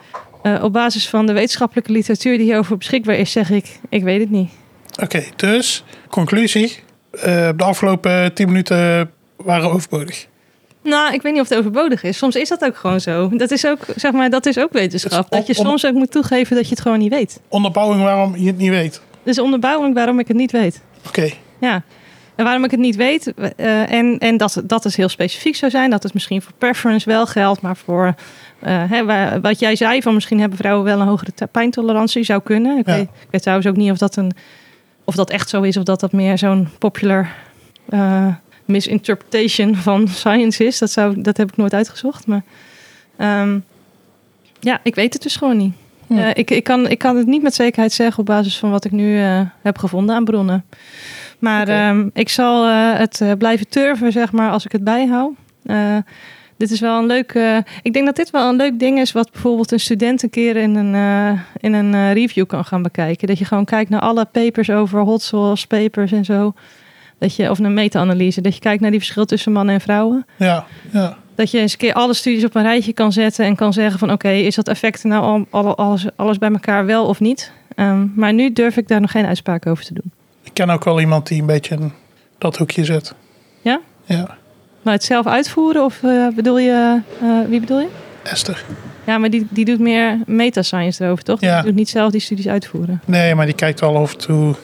S1: Eh, op basis van de wetenschappelijke literatuur die hierover beschikbaar is, zeg ik, ik weet het niet.
S2: Oké, dus conclusie. Eh, de afgelopen 10 minuten waren overbodig.
S1: Nou, ik weet niet of het overbodig is. Soms is dat ook gewoon zo. Dat is ook, zeg maar, dat is ook
S2: Het
S1: wetenschap.
S2: is on-
S1: Dat je
S2: on-
S1: soms ook moet toegeven dat je het gewoon niet weet.
S2: Onderbouwing waarom je het niet weet.
S1: Dus onderbouwing waarom ik het niet weet.
S2: Oké,
S1: Ja. En waarom ik het niet weet, eh, en, en dat, dat het heel specifiek zou zijn, dat het misschien voor preference wel geldt, maar voor eh, hè, wa- wat jij zei, van misschien hebben vrouwen wel een hogere ta- pijntolerantie, zou kunnen. Ik,
S2: Ja.
S1: weet, ik weet trouwens ook niet of dat, een, of dat echt zo is, of dat dat meer zo'n popular eh, misinterpretation van science is. Dat, zou, dat heb ik nooit uitgezocht, maar ehm, ja, ik weet het dus gewoon niet.
S2: Hm.
S1: Eh, ik, ik, kan, ik kan het niet met zekerheid zeggen op basis van wat ik nu eh, heb gevonden aan bronnen. Maar
S2: Oké.
S1: ehm, ik zal eh, het eh, blijven turven, zeg maar, als ik het bijhoud. Eh, dit is wel een leuk. eh, ik denk dat dit wel een leuk ding is, wat bijvoorbeeld een student een keer in een, eh, in een eh, review kan gaan bekijken. Dat je gewoon kijkt naar alle papers over hot sauce, papers en zo. Dat je, of een meta-analyse. Dat je kijkt naar die verschil tussen mannen en vrouwen.
S2: ja, ja.
S1: Dat je eens een keer alle studies op een rijtje kan zetten en kan zeggen van oké, is dat effect nou al, al- alles, alles bij elkaar wel of niet? Ehm, maar nu durf ik daar nog geen uitspraak over te doen.
S2: Ik ken ook wel iemand die een beetje in dat hoekje zit.
S1: Ja?
S2: Ja,
S1: Maar Nou, het zelf uitvoeren of eh, bedoel je, eh, wie bedoel je?
S2: Esther.
S1: Ja, maar die, die doet meer meta-science erover, toch?
S2: Ja.
S1: Die doet niet zelf die studies uitvoeren.
S2: Nee, maar die kijkt wel of, het, hoe,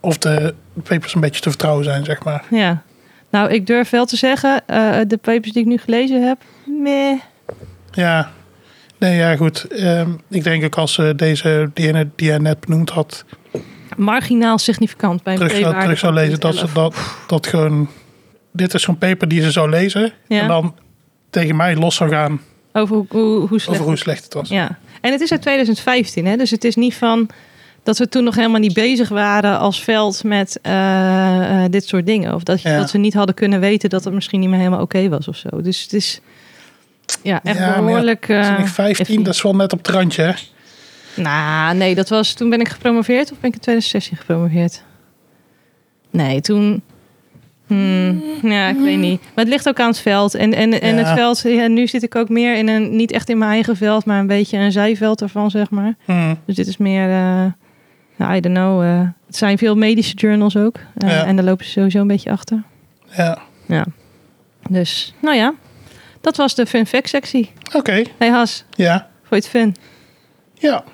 S2: of de papers een beetje te vertrouwen zijn, zeg maar.
S1: Ja. Nou, ik durf wel te zeggen, eh, de papers die ik nu gelezen heb, meh.
S2: Ja, nee, ja, goed. Ehm, ik denk ook als ze deze, die ene die jij net benoemd had,
S1: marginaal significant bij een
S2: terug, zou-
S1: p-waarde
S2: terug zou
S1: van
S2: lezen, dat ze
S1: 0,11.
S2: dat, dat gewoon. Dit is zo'n paper die ze zou lezen.
S1: Ja.
S2: En dan tegen mij los zou gaan
S1: Over hoe, hoe, hoe slecht
S2: Nou. over hoe slecht het was.
S1: Ja, en het is uit 2015, hè? dus het is niet van dat we toen nog helemaal niet bezig waren als veld met eh, eh, dit soort dingen. Of dat, je-
S2: Ja.
S1: dat we niet hadden kunnen weten dat het misschien niet meer helemaal oké was of zo. Dus het is ja, echt
S2: Ja, maar ja,
S1: behoorlijk... eh,
S2: Toen ik 15,
S1: iffy.
S2: dat is wel net op het randje. Hè?
S1: Nou, nee, dat was toen ben ik gepromoveerd of ben ik in 2016 gepromoveerd? Nee, toen... Hmm, ja, ik weet niet. Maar het ligt ook aan het veld. En, en, en
S2: Mm. Ja.
S1: het veld, ja, nu zit ik ook meer in een, niet echt in mijn eigen veld, maar een beetje een zijveld ervan, zeg maar.
S2: Hmm.
S1: Dus dit is meer, eh, nou, I don't know. eh, het zijn veel medische journals ook. Eh,
S2: Ja.
S1: En daar lopen ze sowieso een beetje achter.
S2: Ja,
S1: Ja. Dus, nou ja. Dat was de fun fact sectie.
S2: oké.
S1: Hey Has,
S2: Ja,
S1: vond je het fun?
S2: ja.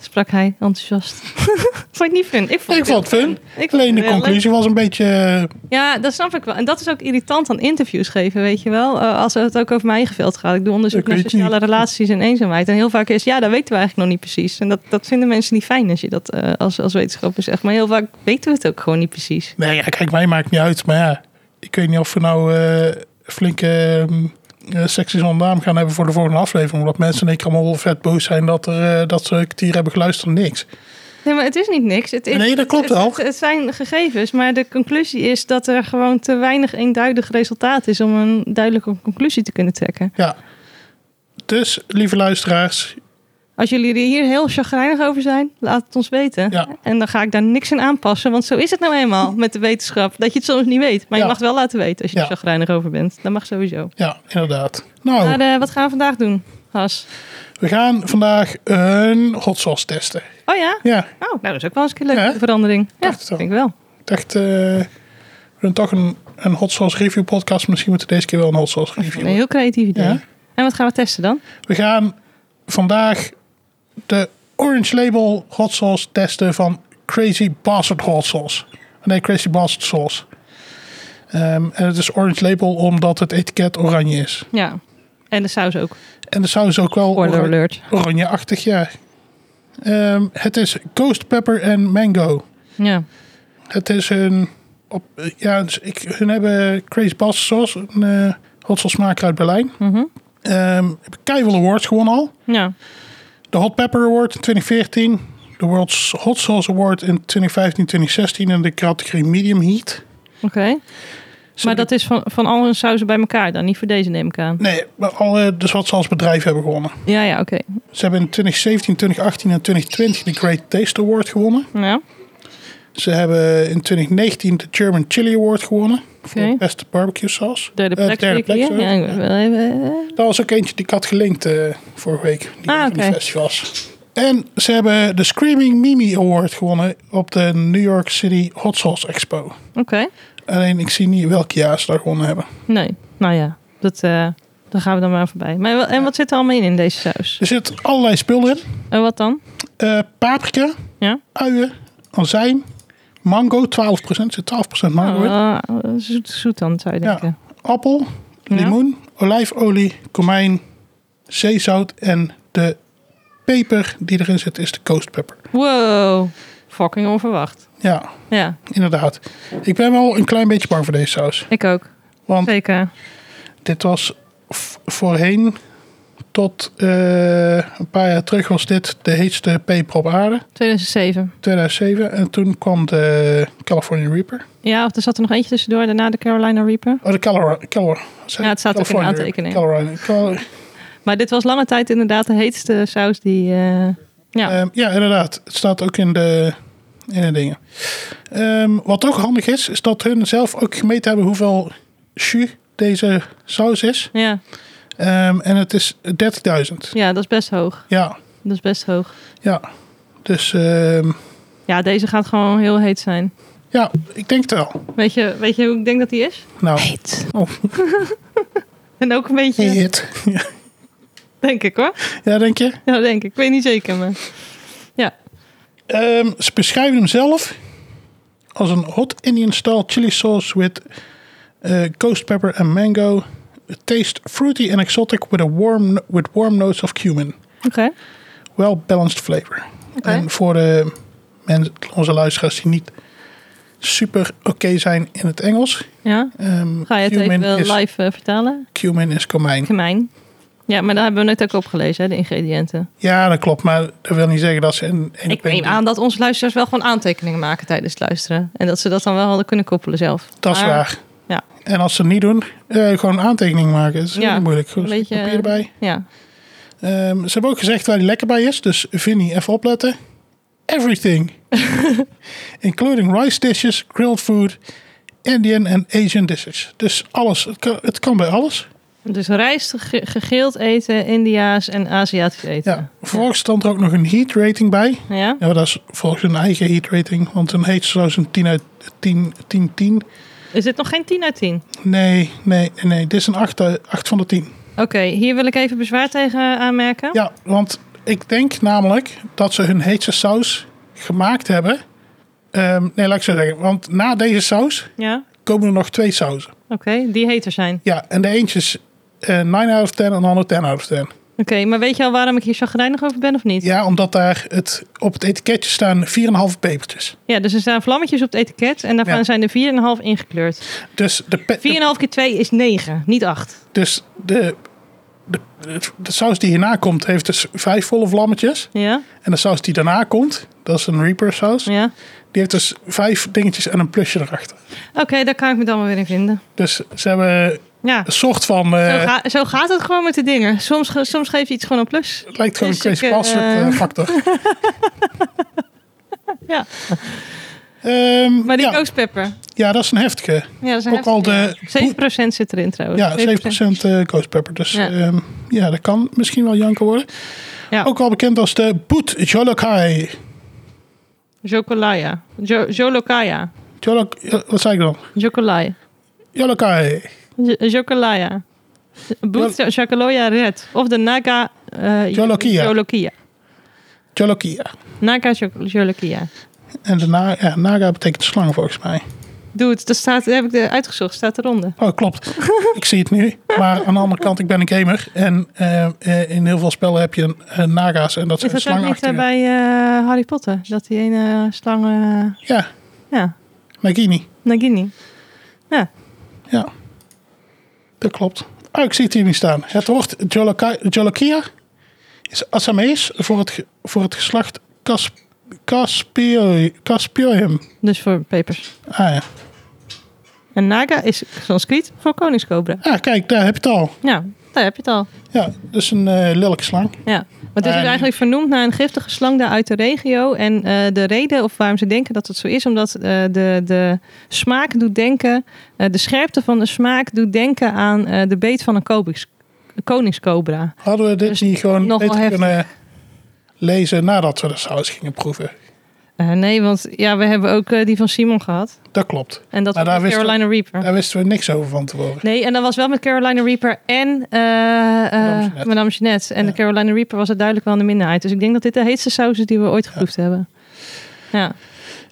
S1: Sprak hij enthousiast. vond je het niet fun? Ik vond,
S2: ik vond het fun.
S1: ik vond
S2: Alleen de
S1: het heel
S2: conclusie was een beetje... eh,
S1: leuk. Ja, dat snap ik wel. En dat is ook irritant aan interviews geven, weet je wel. Eh, als het ook over mijn eigen veld gaat. Ik doe onderzoek
S2: Ik
S1: naar
S2: weet het
S1: sociale
S2: niet.
S1: relaties en eenzaamheid. En heel vaak is, ja, dat weten we eigenlijk nog niet precies. En dat, dat vinden mensen niet fijn als je dat eh, als, als wetenschapper zegt. Maar heel vaak weten we het ook gewoon niet precies.
S2: Nee, ja, kijk, mij maakt niet uit. Maar ja, ik weet niet of we nou eh, flinke eh secties naam gaan hebben voor de volgende aflevering. Omdat mensen in één keer allemaal vet boos zijn dat, er, eh, dat ze een kwartier hebben geluisterd. Niks.
S1: Nee, maar het is niet niks. Het is,
S2: Nee, dat klopt
S1: het-
S2: wel.
S1: Het, het zijn gegevens, maar de conclusie is dat er gewoon te weinig eenduidig resultaat is om een duidelijke conclusie te kunnen trekken.
S2: Ja. Dus, lieve luisteraars,
S1: Als jullie er hier heel chagrijnig over zijn, laat het ons weten.
S2: Ja.
S1: En dan ga ik daar niks in aanpassen, want zo is het nou eenmaal met de wetenschap. Dat je het soms niet weet, maar je
S2: Ja.
S1: mag het wel laten weten als je
S2: Ja.
S1: er chagrijnig over bent. Dat mag sowieso.
S2: ja, inderdaad. Nou,
S1: Maar eh, wat gaan we vandaag doen, Has?
S2: we gaan vandaag een hot sauce testen.
S1: Oh ja?
S2: Ja,
S1: Oh, nou, dat is ook wel eens een keer leuke
S2: Ja, hè?
S1: verandering. Ja,
S2: Dacht het
S1: dat
S2: al.
S1: vind ik wel.
S2: ik dacht, eh, we doen toch een, een hot sauce review podcast. maar Misschien moeten we deze keer wel een hot sauce review
S1: Een heel creatief idee.
S2: Ja.
S1: En wat gaan we testen dan?
S2: We gaan vandaag de Orange Label hot sauce testen van Crazy Bastard hot sauce. Nee, Crazy Bastard sauce. Ehm, en het is Orange Label omdat het etiket oranje is.
S1: Ja. En de saus ook.
S2: En de saus is ook wel
S1: Spoiler
S2: oranje-
S1: alert.
S2: oranje-achtig, ja. Ehm, het is Ghost Pepper en Mango.
S1: Ja.
S2: Het is een... Op, ja, dus ik, hun hebben Crazy Bastard sauce, een eh, hot sauce maker uit Berlijn.
S1: Mhm.
S2: Ehm Keivel Awards gewonnen al.
S1: Ja.
S2: De Hot Pepper Award in 2014. De World's Hot Sauce Award in 2015-2016 in de categorie Medium Heat.
S1: Oké. Maar dat is van, van al hun sauzen bij elkaar dan? Niet voor deze neem ik aan.
S2: Nee, maar alle, dus wat ze als bedrijf hebben gewonnen.
S1: Ja, ja, oké.
S2: Ze hebben in 2017, 2018 en 2020 de Great Taste Award gewonnen.
S1: Ja.
S2: Ze hebben in 2019 de German Chili Award gewonnen. Voor
S1: Oké.
S2: de beste barbecue sauce.
S1: Derde
S2: Eh,
S1: plek.
S2: derde
S1: zeker, ja?
S2: sorry.
S1: Ja, ik wil even- eh,
S2: Dat was ook eentje die ik had gelinkt eh, vorige week. Die
S1: Ah,
S2: van die
S1: oké.
S2: festivals. En ze hebben de Screaming Mimi Award gewonnen op de New York City Hot Sauce Expo.
S1: Oké.
S2: Alleen ik zie niet welk jaar ze daar gewonnen hebben.
S1: Nee. Nou ja, dat, eh, daar gaan we dan maar voorbij. Maar, wel- en wat zit er allemaal in in deze saus?
S2: Er zit allerlei spullen in.
S1: En wat dan?
S2: Eh, paprika,
S1: Ja.
S2: uien, azijn, mango, 12%. Er zit 12% mango in.
S1: Oh, eh, zoet, zoet dan, zou je
S2: Ja.
S1: denken.
S2: Appel,
S1: Ja.
S2: limoen, olijfolie, komijn, zeezout en de peper die erin zit is de ghost pepper.
S1: Wow. Fucking onverwacht.
S2: Ja,
S1: Ja,
S2: inderdaad. Ik ben wel een klein beetje bang voor deze saus.
S1: ik ook.
S2: Want
S1: Zeker.
S2: dit was v- voorheen tot eh, een paar jaar terug was dit de heetste peper op aarde.
S1: 2007.
S2: 2007. En toen kwam de California Reaper.
S1: Ja, of er zat er nog eentje tussendoor. Daarna de Carolina Reaper.
S2: Oh, de Calor. Calor
S1: Ja, het staat ook in de aantekening. Maar dit was lange tijd inderdaad de heetste saus die... eh, ja.
S2: Ja. ehm, ja, inderdaad. Het staat ook in de, in de dingen. Ehm, wat ook handig is, is dat hun zelf ook gemeten hebben hoeveel jus deze saus is.
S1: ja.
S2: Ehm, en het is 30.000.
S1: ja, dat is best hoog.
S2: Ja,
S1: Dat is best hoog.
S2: ja. Dus ehm,
S1: Ja, deze gaat gewoon heel heet zijn.
S2: ja, ik denk het wel.
S1: Weet je, weet je hoe ik denk dat die is?
S2: Nou,
S1: Heet.
S2: Oh.
S1: en ook een beetje,
S2: hey hit.
S1: denk ik hoor.
S2: ja, denk je?
S1: Ja, denk ik. Ik weet niet zeker, maar...
S2: Ehm, ze beschrijven hem zelf als een hot Indian style chili sauce with eh, ghost pepper and mango. It tastes fruity and exotic with a warm with warm notes of cumin.
S1: Oké.
S2: Well balanced flavor.
S1: Oké.
S2: En voor de mensen, onze luisteraars die niet super oké zijn in het Engels.
S1: Ja.
S2: ehm,
S1: Ga je het
S2: cumin
S1: even eh,
S2: is,
S1: live eh, vertalen?
S2: Cumin is komijn.
S1: Gemijn. Ja, maar daar hebben we net ook opgelezen, hè, de ingrediënten.
S2: Ja, dat klopt. Maar dat wil niet zeggen dat ze in één
S1: Ik neem aan dat onze luisteraars wel gewoon aantekeningen maken tijdens het luisteren. En dat ze dat dan wel hadden kunnen koppelen zelf.
S2: Dat is
S1: Maar-
S2: waar.
S1: Ja.
S2: En als ze het niet doen, eh, gewoon een aantekening maken. Dat is
S1: Ja,
S2: heel moeilijk. Gewoon
S1: een
S2: een stuk
S1: beetje, eh,
S2: papier erbij.
S1: Ja.
S2: Ehm, ze hebben ook gezegd waar hij lekker bij is. Dus Vinnie, even opletten. everything, including rice dishes, grilled food, Indian and Asian dishes. Dus alles. Het kan, het kan bij alles.
S1: Dus rijst, ge- gegeeld eten, India's en Aziatisch eten.
S2: Ja. Vervolgens stond er ook nog een heat rating bij.
S1: Ja. ja?
S2: Ja, maar dat is volgens hun eigen heat rating. Want een heet saus een 10 uit 10, 10, 10.
S1: Is dit nog geen 10 uit 10?
S2: Nee, nee, nee, nee. Dit is een 8, eh, 8 van de 10.
S1: Oké, hier wil ik even bezwaar tegen aanmerken.
S2: Ja, want ik denk namelijk dat ze hun heetse saus gemaakt hebben. Ehm, nee, laat ik zo zeggen. Want na deze saus
S1: Ja?
S2: komen er nog twee sauzen.
S1: Oké, die heter zijn.
S2: Ja, en de eentje is eh 9 out of 10 en de andere 10 out of 10.
S1: Oké, maar weet je al waarom ik hier chagrijnig over ben of niet?
S2: Ja, omdat daar het, op het etiketje staan 4,5 pepertjes.
S1: Ja, dus er staan vlammetjes op het etiket en daarvan
S2: Ja.
S1: zijn er 4,5 ingekleurd. 4,5
S2: Dus de, pe- de-
S1: keer 2 is 9, niet 8.
S2: dus de, de, de, de saus die hierna komt heeft dus vijf volle vlammetjes.
S1: Ja?
S2: En de saus die daarna komt, dat is een Reaper saus.
S1: Ja?
S2: Die heeft dus vijf dingetjes en een plusje erachter.
S1: Oké, daar kan ik me dan wel weer in vinden.
S2: Dus ze hebben
S1: Ja.
S2: een soort van... eh,
S1: Zo, ga- zo gaat het gewoon met de dingen. Soms, ge- soms geef je iets gewoon een plus.
S2: het lijkt gewoon
S1: Dus
S2: een
S1: ik,
S2: Crazy Bastard
S1: eh,
S2: eh, factor.
S1: Ja.
S2: Ehm,
S1: Maar die
S2: ja,
S1: kookspepper.
S2: ja, dat is een heftige.
S1: Ja, dat is een
S2: Ook
S1: heftige,
S2: al de-
S1: ja. 7% zit erin trouwens.
S2: Ja, 7% eh, ghost pepper. Dus
S1: Ja.
S2: ja. ja, dat kan misschien wel janken worden.
S1: Ja.
S2: Ook wel bekend als de Boet Jolokai.
S1: Jocolaya. Jo- Jolokaya.
S2: Jolok, eh, wat zei ik dan?
S1: Jocolai.
S2: Jolokai.
S1: Jo- Jocolaya. Boet Jacaloya Red. Of de Naga... eh,
S2: Jolokia.
S1: Jolokia.
S2: Jolokia.
S1: Naga Jo- Jolokia.
S2: En de na, ja, naga betekent slang volgens mij.
S1: Dude, dat staat, heb ik er uitgezocht. Staat eronder.
S2: Oh, klopt. ik zie het nu. Maar aan de andere kant, ik ben een gamer. En eh, eh, in heel veel spellen heb je een, een naga's. En dat
S1: Is
S2: zijn
S1: dat ook niet eh,
S2: slangachtige.
S1: bij eh, Harry Potter? Dat die ene eh, slang... eh,
S2: Ja,
S1: ja,
S2: Nagini.
S1: Nagini. Ja,
S2: Ja. Dat klopt. Oh, ik zie het hier niet staan. Het woord Jolokai- Jolokia is Assamees voor het, ge- voor het geslacht Cas, Caspio- Caspioium.
S1: dus voor pepers.
S2: Ah ja.
S1: En Naga is Sanskriet voor koningscobra.
S2: Ah, kijk, daar heb je het al.
S1: Ja, daar heb je het al.
S2: Ja, dus een eh lelijke slang.
S1: Ja, want het is
S2: En-
S1: dus eigenlijk vernoemd naar een giftige slang daar uit de regio. En eh, de reden of waarom ze denken dat het zo is, omdat eh, de, de smaak doet denken, eh, de scherpte van de smaak doet denken aan eh, de beet van een kobiks- koningscobra.
S2: Hadden we dit
S1: Dus
S2: niet gewoon
S1: nogal
S2: beter
S1: heftig.
S2: kunnen lezen nadat we de saus gingen proeven?
S1: Eh, nee, want ja, we hebben ook eh, die van Simon gehad.
S2: Dat klopt.
S1: En dat
S2: Maar
S1: was
S2: daar
S1: met
S2: wist-
S1: Carolina Reaper.
S2: Daar wisten we niks over van tevoren.
S1: Nee, en dat was wel met Carolina Reaper en eh eh
S2: Jeanette.
S1: Madame Jeanette. En
S2: Ja.
S1: de Carolina Reaper was het duidelijk wel in de minderheid. Dus ik denk dat dit de heetste saus is die we ooit geproefd hebben. Ja.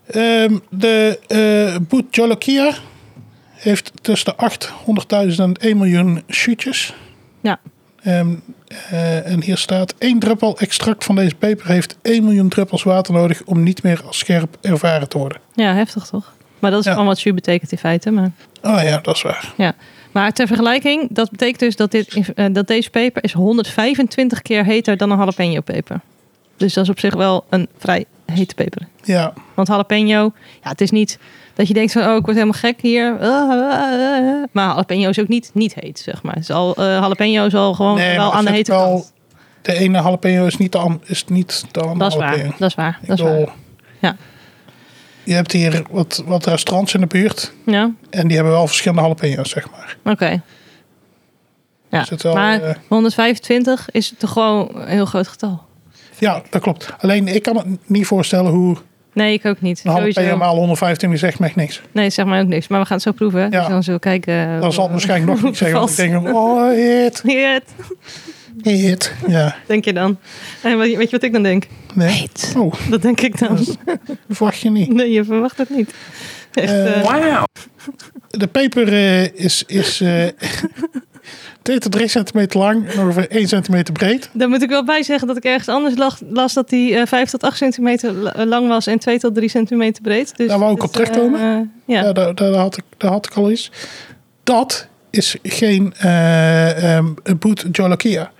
S2: Ehm, de eh Boet Jolokia heeft tussen de 800.000 en 1 miljoen shootjes.
S1: Ja.
S2: Ehm, eh, en hier staat: één druppel extract van deze peper heeft 1 miljoen druppels water nodig om niet meer als scherp ervaren te worden.
S1: ja, heftig toch? Maar dat is
S2: Ja.
S1: gewoon wat jus betekent in feite. Maar,
S2: Oh ja, dat is waar.
S1: ja. maar ter vergelijking, dat betekent dus dat, dit, in- eh, dat deze peper is 125 keer heter dan een jalapeno peper. Dus dat is op zich wel een vrij hete peper.
S2: Ja,
S1: Want jalapeno, ja, het is niet dat je denkt van, oh, ik word helemaal gek hier. Ah, ah, ah. Maar jalapeno is ook niet, niet heet, zeg maar. Het is al, eh, jalapeno is al gewoon
S2: Nee, maar
S1: wel aan de
S2: er
S1: hete
S2: zit wel-
S1: kant.
S2: de ene jalapeno is niet de, an- is niet de andere
S1: Dat is waar,
S2: jalapeno.
S1: dat is waar,
S2: Ik
S1: dat is
S2: bedoel,
S1: waar. Ja.
S2: Je hebt hier wat, wat restaurants in de buurt.
S1: Ja,
S2: En die hebben wel verschillende jalapeno's, zeg maar.
S1: oké. Ja,
S2: Is het wel,
S1: maar
S2: eh,
S1: 125 is toch gewoon een heel groot getal.
S2: Ja, dat klopt. Alleen ik kan me niet voorstellen hoe
S1: Nee, ik ook niet.
S2: een jalapeno
S1: Sowieso.
S2: maal 125 zegt me echt niks.
S1: Nee, zeg maar ook niks. Maar we gaan het zo proeven. Dus dan zullen we kijken. eh,
S2: Dan zal het waarschijnlijk nog niet zeggen. Want ik
S1: Vast.
S2: denk, oh, hit,
S1: Heet,
S2: hit. Ja,
S1: denk je dan. En weet je- weet je wat ik dan denk?
S2: nee.
S1: Heet.
S2: Oh,
S1: Dat denk ik dan.
S2: verwacht je niet.
S1: Nee, je verwacht het niet. Echt,
S2: Eh,
S1: eh,
S2: De peper eh, is, is eh 2 tot 3 centimeter lang en ongeveer 1 centimeter breed.
S1: Daar moet ik wel bij zeggen dat ik ergens anders lag- las dat die eh 5 tot 8 centimeter la- eh, lang was en 2 tot 3 centimeter breed. Dus
S2: Daar wou ik
S1: dit,
S2: op terugkomen.
S1: eh, eh, ja.
S2: Ja, daar, daar, had ik, daar had ik al iets. Dat is geen eh ehm boet jolokia.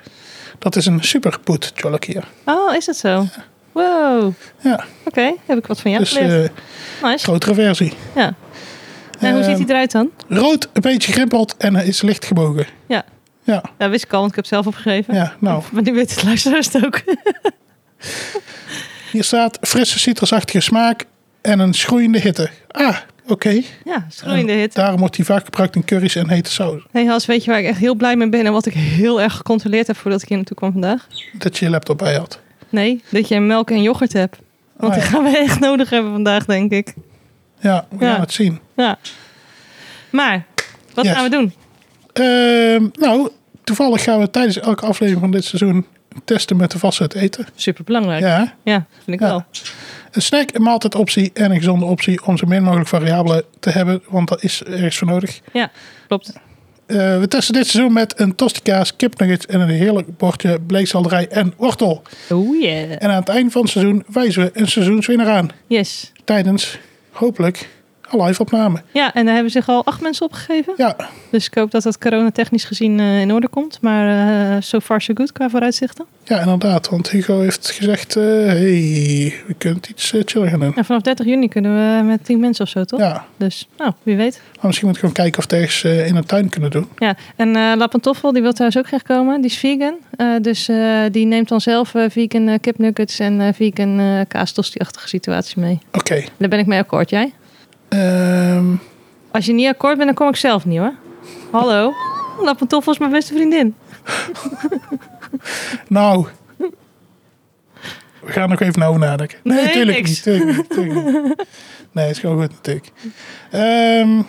S2: Dat is een super boet jolokia.
S1: Oh, is dat zo? Wow. Oké,
S2: Ja,
S1: heb ik wat van jou
S2: dus
S1: geleerd.
S2: eh,
S1: nice.
S2: grotere versie.
S1: Ja. En hoe ziet
S2: ehm,
S1: hij eruit dan?
S2: Rood, een beetje grimpeld en hij is licht gebogen.
S1: Ja.
S2: Ja,
S1: Ja, wist ik al, want ik heb het zelf opgegeven.
S2: ja nou.
S1: Maar nu weet het luisteraars het ook.
S2: Hier staat frisse citrusachtige smaak en een schroeiende hitte. Ah, oké.
S1: Ja, schroeiende
S2: En
S1: hit.
S2: Daarom wordt die vaak gebruikt in curry's en hete saus.
S1: Hey Hans, weet je waar ik echt heel blij mee ben en wat ik heel erg gecontroleerd heb voordat ik hier naartoe kwam vandaag?
S2: Dat je je laptop bij had.
S1: Nee, dat je melk en yoghurt hebt. Want
S2: Oh ja.
S1: die gaan we echt nodig hebben vandaag, denk ik.
S2: Ja, we
S1: Ja.
S2: gaan het zien.
S1: Ja. Maar, wat
S2: Yes.
S1: gaan we doen?
S2: Ehm, nou, toevallig gaan we tijdens elke aflevering van dit seizoen testen met de vastzet eten.
S1: Superbelangrijk. Ja,
S2: Ja,
S1: vind ik
S2: Ja.
S1: wel.
S2: een snack, een maaltijdoptie en een gezonde optie om zo min mogelijk variabelen te hebben, want dat is ergens voor nodig.
S1: Ja, klopt.
S2: Eh, we testen dit seizoen met een tostikaas, kipnuggets en een heerlijk bordje bleekselderij en wortel.
S1: Oh yeah.
S2: En aan het eind van het seizoen wijzen we een seizoenswinnaar aan.
S1: Yes.
S2: Tijdens, hopelijk, een live opname.
S1: Ja, en daar hebben zich al acht mensen opgegeven.
S2: Ja,
S1: Dus ik hoop dat dat coronatechnisch gezien eh, in orde komt. Maar eh, so far so good qua vooruitzichten.
S2: ja, inderdaad. Want Hugo heeft gezegd, eh hey, we kunnen het iets eh, chiller gaan doen.
S1: En vanaf 30 juni kunnen we met 10 mensen of zo, toch?
S2: Ja,
S1: Dus, nou, wie weet.
S2: maar misschien moet ik gewoon kijken of we het ergens eh, in een tuin kunnen doen.
S1: Ja, en eh La Pantoffel, die wil trouwens ook graag komen. Die is vegan. Eh, dus eh, die neemt dan zelf eh, vegan eh, kipnuggets en eh, vegan eh kaastostieachtige situatie mee.
S2: Oké,
S1: Daar ben ik mee akkoord, jij?
S2: ehm,
S1: Als je niet akkoord bent, dan kom ik zelf niet, hoor. Hallo? La Pantoffel is mijn beste vriendin.
S2: nou... We gaan nog even over nadenken. Nee,
S1: Nee,
S2: natuurlijk
S1: niks.
S2: niet. tuurlijk niet, tuurlijk niet. Nee, het is gewoon goed natuurlijk. Ehm,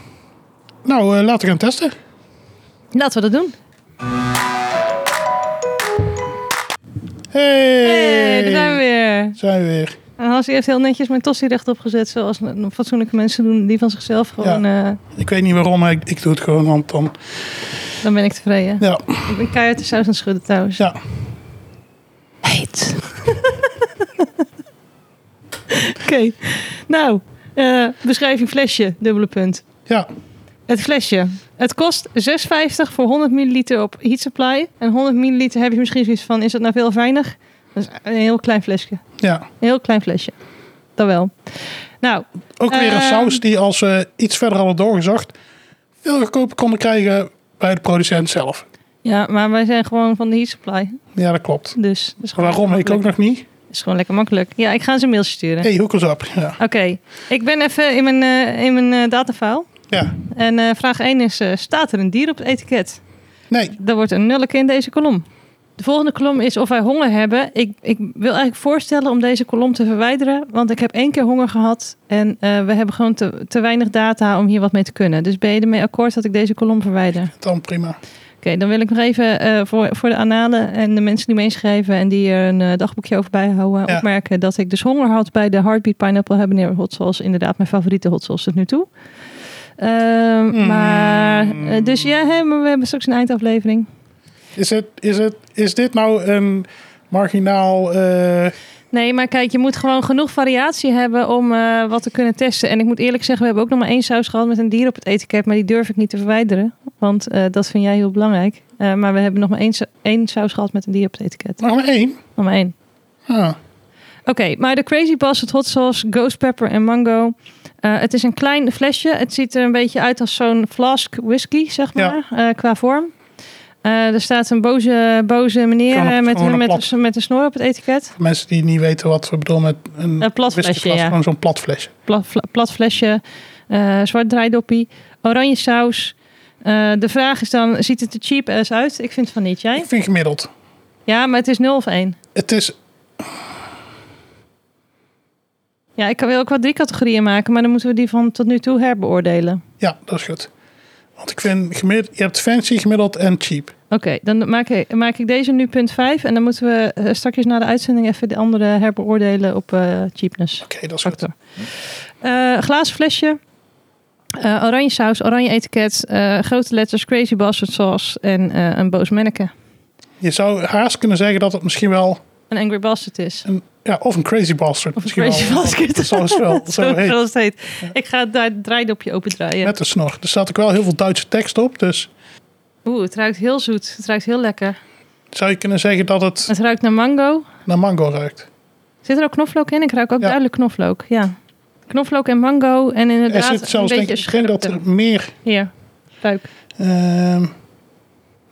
S2: nou, eh, laten we gaan testen.
S1: Laten we dat doen.
S2: Hey,
S1: Hey, daar zijn we weer.
S2: Zijn we weer.
S1: En Hans die heeft heel netjes mijn tossie rechtop gezet, zoals n- fatsoenlijke mensen doen, die van zichzelf gewoon... eh,
S2: Ik weet niet waarom, maar ik, ik doe het gewoon, want dan...
S1: dan ben ik tevreden.
S2: Ja,
S1: Ik ben keihard de saus aan het schudden trouwens.
S2: ja.
S1: Heet. Oké, nou, eh, beschrijving flesje, dubbele punt.
S2: ja.
S1: Het flesje. Het kost 6,50 voor 100 milliliter op Heat Supply. En 100 milliliter heb je misschien zoiets van, is dat nou veel of weinig? Dat is een heel klein flesje. Een
S2: Ja,
S1: heel klein flesje. Dat wel. Nou,
S2: ook weer een
S1: Ehm.
S2: saus die als we iets verder hadden doorgezocht... veel goedkoper konden krijgen bij de producent zelf.
S1: ja, maar wij zijn gewoon van de Heat Supply.
S2: Ja, dat klopt.
S1: Dus dat is gewoon
S2: Waarom, ik
S1: lekker
S2: ook nog niet.
S1: makkelijk. is gewoon lekker makkelijk. Ja, ik ga ze een mailtje sturen.
S2: hey, hoek ons op. Ja.
S1: Oké, ik ben even in mijn, eh, in mijn eh, datafile.
S2: ja.
S1: En eh, vraag 1 is, eh, staat er een dier op het etiket?
S2: Nee,
S1: Er wordt een nulletje in deze kolom. De volgende kolom is of wij honger hebben. Ik, ik wil eigenlijk voorstellen om deze kolom te verwijderen. Want ik heb één keer honger gehad. En eh, we hebben gewoon te, te weinig data om hier wat mee te kunnen. Dus ben je ermee akkoord dat ik deze kolom verwijder? Oké,
S2: dan prima.
S1: dan wil ik nog even eh, voor, voor de analen en de mensen die meeschrijven... en die er een eh, dagboekje over bijhouden...
S2: Ja.
S1: opmerken dat ik dus honger had bij de Heartbeat Pineapple Habanero Hot Sauce. Inderdaad, mijn favoriete hot sauce tot nu toe. Ehm,
S2: Mm.
S1: Maar, eh, dus ja, hè, maar we hebben straks een eindaflevering.
S2: Is, het, is, het, is dit nou een marginaal... eh,
S1: Nee, maar kijk, je moet gewoon genoeg variatie hebben om eh, wat te kunnen testen. En ik moet eerlijk zeggen, we hebben ook nog maar één saus gehad met een dier op het etiket. Maar die durf ik niet te verwijderen, want eh, dat vind jij heel belangrijk. Eh, maar we hebben nog maar één, sa- één saus gehad met een dier op het etiket.
S2: nog maar één?
S1: Nog maar één.
S2: Ah,
S1: Oké, maar de Crazy Bastard Hot Sauce, Ghost Pepper en Mango. Eh, het is een klein flesje. Het ziet er een beetje uit als zo'n flask whisky, zeg maar, eh, qua vorm. Eh, er staat een boze, boze meneer
S2: Gewoon een-
S1: eh, met,
S2: gewoon een
S1: met,
S2: plat.
S1: met een snor op het etiket.
S2: voor mensen die niet weten wat we bedoelen met een...
S1: Een plat
S2: whiskyfles,
S1: flesje, ja.
S2: Gewoon zo'n plat flesje.
S1: pla- fla- plat flesje, eh, zwart draaidoppie, oranje saus. Eh, de vraag is dan, ziet het er cheap ass uit? Ik vind van niet, jij?
S2: Ik vind gemiddeld.
S1: Ja, maar het is 0 of 1.
S2: Het is...
S1: Ja, ik kan wel ook wel drie categorieën maken, maar dan moeten we die van tot nu toe herbeoordelen.
S2: Ja, dat is goed. Want ik vind gemiddeld... Je hebt fancy, gemiddeld en cheap.
S1: Oké, dan maak ik, maak ik deze nu punt 5 en dan moeten we eh, straks na de uitzending even de andere herbeoordelen op eh, cheapness.
S2: Oké, dat is goed.
S1: factor. Eh, glazen flesje. eh, oranje saus, oranje etiket, eh, grote letters, crazy bastard sauce en eh, een boos manneke.
S2: Je zou haast kunnen zeggen dat het misschien wel...
S1: Een angry bastard is.
S2: Een, ja, of een crazy
S1: Of
S2: bastard.
S1: een
S2: misschien
S1: crazy
S2: wel.
S1: basket.
S2: Dat zou het wel zo heet.
S1: Zoals het heet. Ik ga daar het draaidopje opendraaien.
S2: Met de snor. Er staat ook wel heel veel Duitse tekst op. Dus
S1: Oeh, het ruikt heel zoet. Het ruikt heel lekker.
S2: zou je kunnen zeggen dat het
S1: Het ruikt naar mango.
S2: naar mango ruikt.
S1: Zit er ook knoflook in? Ik ruik ook
S2: Ja.
S1: duidelijk knoflook. Ja. Knoflook en mango. En
S2: Er
S1: inderdaad
S2: zit zelfs,
S1: een
S2: denk
S1: beetje
S2: ik, ik denk dat
S1: scherpte.
S2: er meer...
S1: Hier, ruik.
S2: ehm,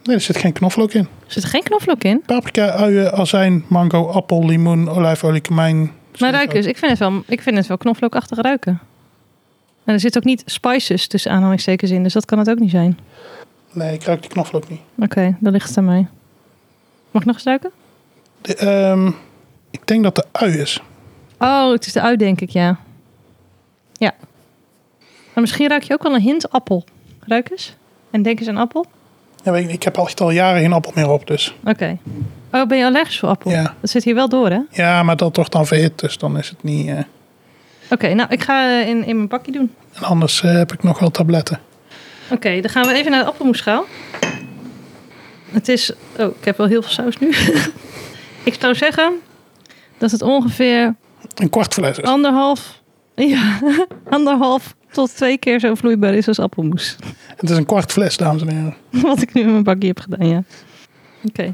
S2: nee, er zit geen knoflook in.
S1: Zit er geen knoflook in?
S2: Paprika, uien, azijn, mango, appel, limoen, olijfolie, komijn,
S1: Maar ruik dus, ik vind het wel, ik vind het wel knoflookachtig ruiken. En er zit ook niet spices tussen aanhalingstekens in, dus dat kan het ook niet zijn.
S2: Nee, ik ruik die knoflook niet.
S1: Oké, dan ligt het aan mij. Mag ik nog eens ruiken?
S2: De, ehm, ik denk dat de ui is.
S1: Oh, het is de ui, denk ik, ja. Ja. Maar misschien ruik je ook wel een hint appel. Ruik eens. En denk eens aan appel.
S2: Ja, weet ik, niet, ik heb al, echt al jaren geen appel meer op, dus.
S1: Oké. Oh, ben je allergisch voor appel?
S2: Ja.
S1: Dat zit hier wel door, hè?
S2: Ja, maar dat wordt dan verhit, dus dan is het niet... eh,
S1: Oké, nou, ik ga eh, in, in mijn bakje doen.
S2: En anders eh, heb ik nog wel tabletten.
S1: Oké, dan gaan we even naar de appelmoesschaal. Het is... Oh, ik heb wel heel veel saus nu. ik zou zeggen dat het ongeveer
S2: Een kwart fles is.
S1: anderhalf... Ja, anderhalf tot twee keer zo vloeibaar is als appelmoes.
S2: Het is een kwart fles, dames en heren.
S1: Wat ik nu in mijn bakje heb gedaan, ja. Oké.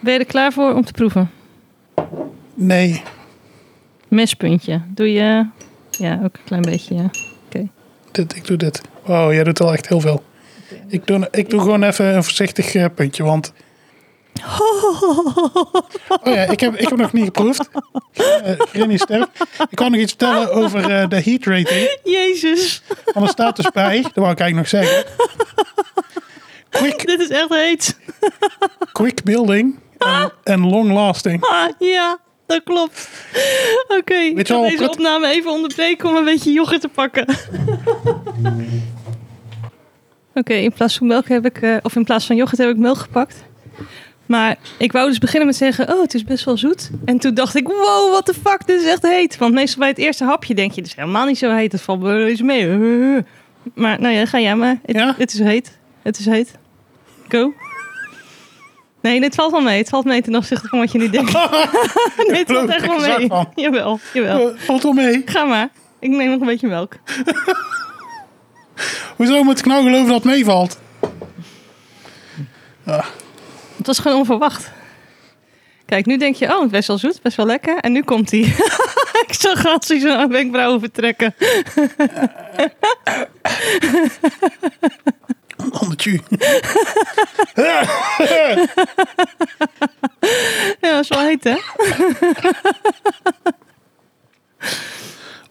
S1: Ben je er klaar voor om te proeven?
S2: Nee,
S1: Mespuntje. Doe je... Ja, ook een klein beetje, ja.
S2: dit, ik doe dit. Wow, jij doet al echt heel veel. Ik doe, ik doe gewoon even een voorzichtig eh, puntje, want... Oh ja, ik heb, ik heb nog niet geproefd. Eh, Granny sterk. Ik kan nog iets vertellen over eh, de heat rating.
S1: Jezus,
S2: Want er staat dus bij, dat wou ik eigenlijk nog zeggen. Quick,
S1: dit is echt heet.
S2: quick building en- en long lasting.
S1: Ah, ja, dat klopt. Oké, ik
S2: je
S1: ga
S2: wel,
S1: deze
S2: kut-
S1: opname even onderbreken om een beetje yoghurt te pakken. Oké, in plaats van melk heb ik, eh, of in plaats van yoghurt heb ik melk gepakt. Maar ik wou dus beginnen met zeggen, oh, het is best wel zoet. En toen dacht ik, wow, what the fuck, dit is echt heet. Want meestal bij het eerste hapje denk je, dit is helemaal niet zo heet. Het valt wel eens mee. Maar nou ja, ga jij maar. Het,
S2: Ja?
S1: het is heet. Het is heet. Go. Nee, dit valt wel mee. Het valt mee ten opzichte van wat je nu denkt. nee, het valt echt wel
S2: Ik zag van.
S1: mee. Jawel, jawel.
S2: Eh, Valt wel mee.
S1: Ga maar. Ik neem nog een beetje melk.
S2: Hoezo moet ik nou geloven dat het meevalt?
S1: Het was gewoon onverwacht. Kijk, nu denk je, oh, het is best wel zoet, best wel lekker. En nu komt hij. ik zag Hansie zijn wenkbrauwen vertrekken.
S2: On the tune.
S1: Ja, dat is wel heet, hè?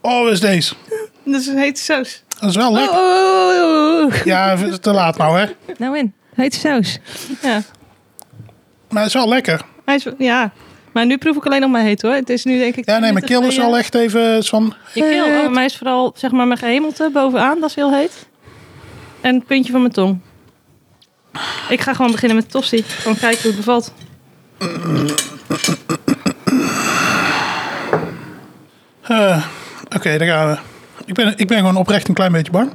S2: Oh, wat is deze?
S1: Dat is een hete Dus saus.
S2: Dat is wel
S1: Oh,
S2: lekker.
S1: oh, oh, oh, oh.
S2: Ja, het is te laat nou, hè?
S1: Nou in, hete saus. Ja,
S2: Maar het is wel lekker.
S1: hij is, ja. maar nu proef ik alleen nog maar heet, hoor. Het is nu denk ik...
S2: Ja, nee, mijn keel is al
S1: lekker.
S2: echt even van...
S1: Je keel, oh, maar hij is vooral, zeg maar, mijn gehemelte bovenaan, dat is heel heet. En het puntje van mijn tong. Ik ga gewoon beginnen met Tossie. Gewoon kijken hoe het bevalt.
S2: Eh, Oké, daar gaan we. Ik ben, ik ben gewoon oprecht een klein beetje bang.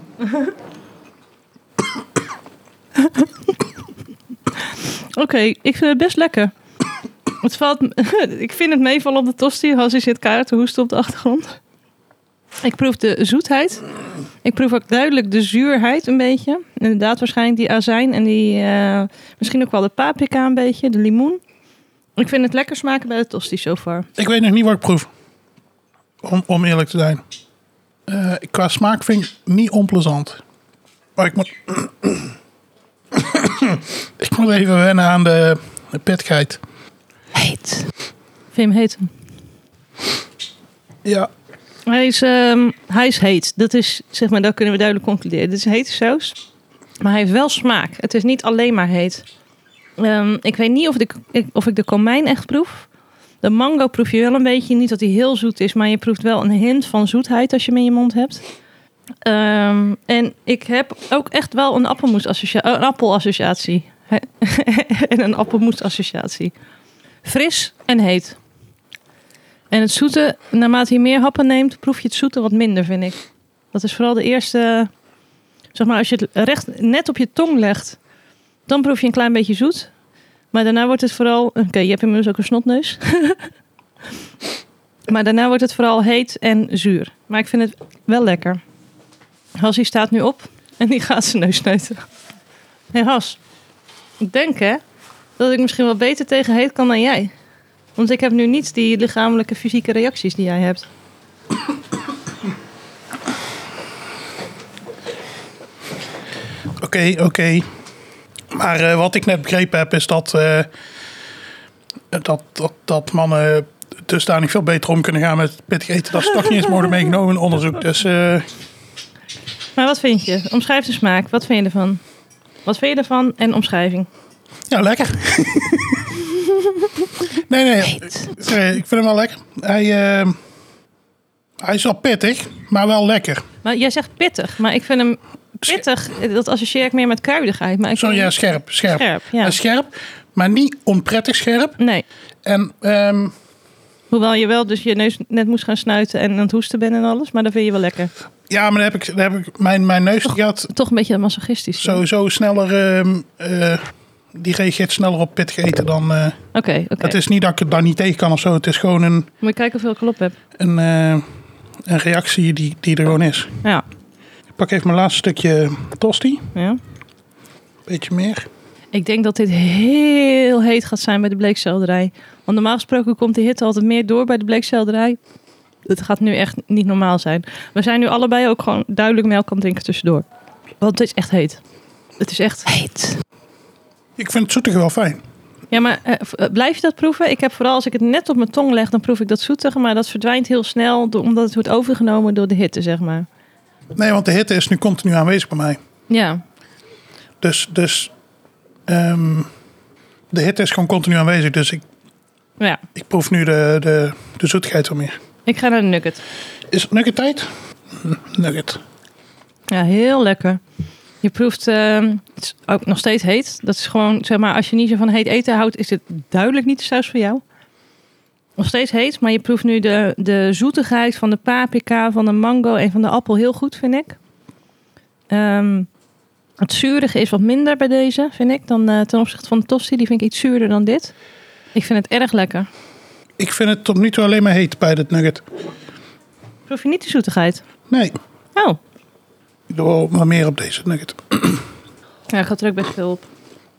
S1: Oké, ik vind het best lekker. Het valt, ik vind het meevallen op de tosti. Hansie zit kaart te hoesten op de achtergrond. Ik proef de zoetheid. Ik proef ook duidelijk de zuurheid een beetje. Inderdaad, waarschijnlijk die azijn en die, eh, misschien ook wel de paprika een beetje, de limoen. Ik vind het lekker smaken bij de tosti so far.
S2: Ik weet nog niet wat ik proef. Om, om eerlijk te zijn. Eh, qua smaak vind ik niet onplezant. Maar ik moet... ik moet even wennen aan de, de pittigheid.
S1: Heet. Vind je hem heet?
S2: Ja.
S1: Hij is, ehm, hij is heet. Dat is, zeg maar, dat kunnen we duidelijk concluderen. Dit is een hete saus. Maar hij heeft wel smaak. Het is niet alleen maar heet. Ehm, ik weet niet of, de, ik, of ik de komijn echt proef. De mango proef je wel een beetje. Niet dat hij heel zoet is, maar je proeft wel een hint van zoetheid als je hem in je mond hebt. Ehm, en ik heb ook echt wel een, appelmoesassociatie- eh, een appelassociatie. en een appelmoesassociatie. Fris en heet. En het zoete, naarmate je meer happen neemt, proef je het zoete wat minder, vind ik. Dat is vooral de eerste. Zeg maar, als je het recht net op je tong legt, dan proef je een klein beetje zoet. Maar daarna wordt het vooral. Oké, je hebt inmiddels ook een snotneus. maar daarna wordt het vooral heet en zuur. Maar ik vind het wel lekker. Hassie staat nu op en die gaat zijn neus snuiten. Hé hey Has, ik denk hè dat ik misschien wel beter tegen heet kan dan jij. Want ik heb nu niet die lichamelijke fysieke reacties die jij hebt.
S2: Oké, oké. Maar eh, wat ik net begrepen heb is dat, eh, dat, dat, dat mannen dusdanig veel beter om kunnen gaan met pittig eten. Dat stak niet eens worden meegenomen in onderzoek. Dus eh,
S1: Maar wat vind je? Omschrijf de smaak. Wat vind je ervan? Wat vind je ervan en omschrijving?
S2: ja, lekker. nee, nee. eh, ik vind hem wel lekker. Hij, eh, hij is wel pittig, maar wel lekker.
S1: Maar jij zegt pittig, maar ik vind hem pittig. eh, Dat associeer ik meer met kruidigheid. Maar ik
S2: Zo
S1: vind
S2: ja,
S1: hem
S2: scherp. Scherp.
S1: scherp. Ja.
S2: Eh, scherp, maar niet onprettig scherp.
S1: Nee.
S2: En ehm,
S1: Hoewel je wel dus je neus net moest gaan snuiten en aan het hoesten bent en alles. Maar dat vind je wel lekker.
S2: ja, maar dan heb ik, dan heb ik mijn, mijn neus die had
S1: Toch een beetje masochistisch. hè? Oké,
S2: sowieso sneller. ehm, eh, die reageert sneller op pittig eten dan. eh,
S1: oké.
S2: Het is niet dat ik het daar niet tegen kan of zo. Het is gewoon een,
S1: Moet je kijken hoeveel ik erop heb.
S2: een, eh, een reactie die, die er gewoon is.
S1: Ja.
S2: Ik pak even mijn laatste stukje tosti.
S1: ja.
S2: Beetje meer.
S1: Ik denk dat dit heel heet gaat zijn bij de bleekselderij. Want normaal gesproken komt de hitte altijd meer door bij de bleekselderij. Het gaat nu echt niet normaal zijn. We zijn nu allebei ook gewoon duidelijk melk aan het drinken tussendoor. Want het is echt heet. Het is echt heet.
S2: Ik vind het zoetige wel fijn.
S1: Ja, maar eh, v- eh, blijf je dat proeven? Ik heb vooral als ik het net op mijn tong leg, dan proef ik dat zoetige. Maar dat verdwijnt heel snel, do- omdat het wordt overgenomen door de hitte, zeg maar.
S2: Nee, want de hitte is nu continu aanwezig bij mij.
S1: Ja,
S2: Dus, dus ehm, de hitte is gewoon continu aanwezig. Dus ik,
S1: ja.
S2: ik proef nu de, de, de zoetigheid wel meer.
S1: Ik ga naar de nugget.
S2: Is het nugget tijd? Hm, Nugget.
S1: Ja, heel lekker. Je proeft, ehm, het is ook nog steeds heet. Dat is gewoon, zeg maar, als je niet zo van heet eten houdt, is dit duidelijk niet de saus voor jou. Nog steeds heet, maar je proeft nu de, de zoetigheid van de paprika, van de mango en van de appel heel goed, vind ik. Ehm, het zurige is wat minder bij deze, vind ik, dan eh, ten opzichte van de tosti. Die vind ik iets zuurder dan dit. Ik vind het erg lekker.
S2: Ik vind het tot nu toe alleen maar heet bij dit nugget.
S1: Proef je niet de zoetigheid?
S2: Nee,
S1: Oh,
S2: ik doe wel wat meer op deze nugget.
S1: ja, gaat er ook best veel op.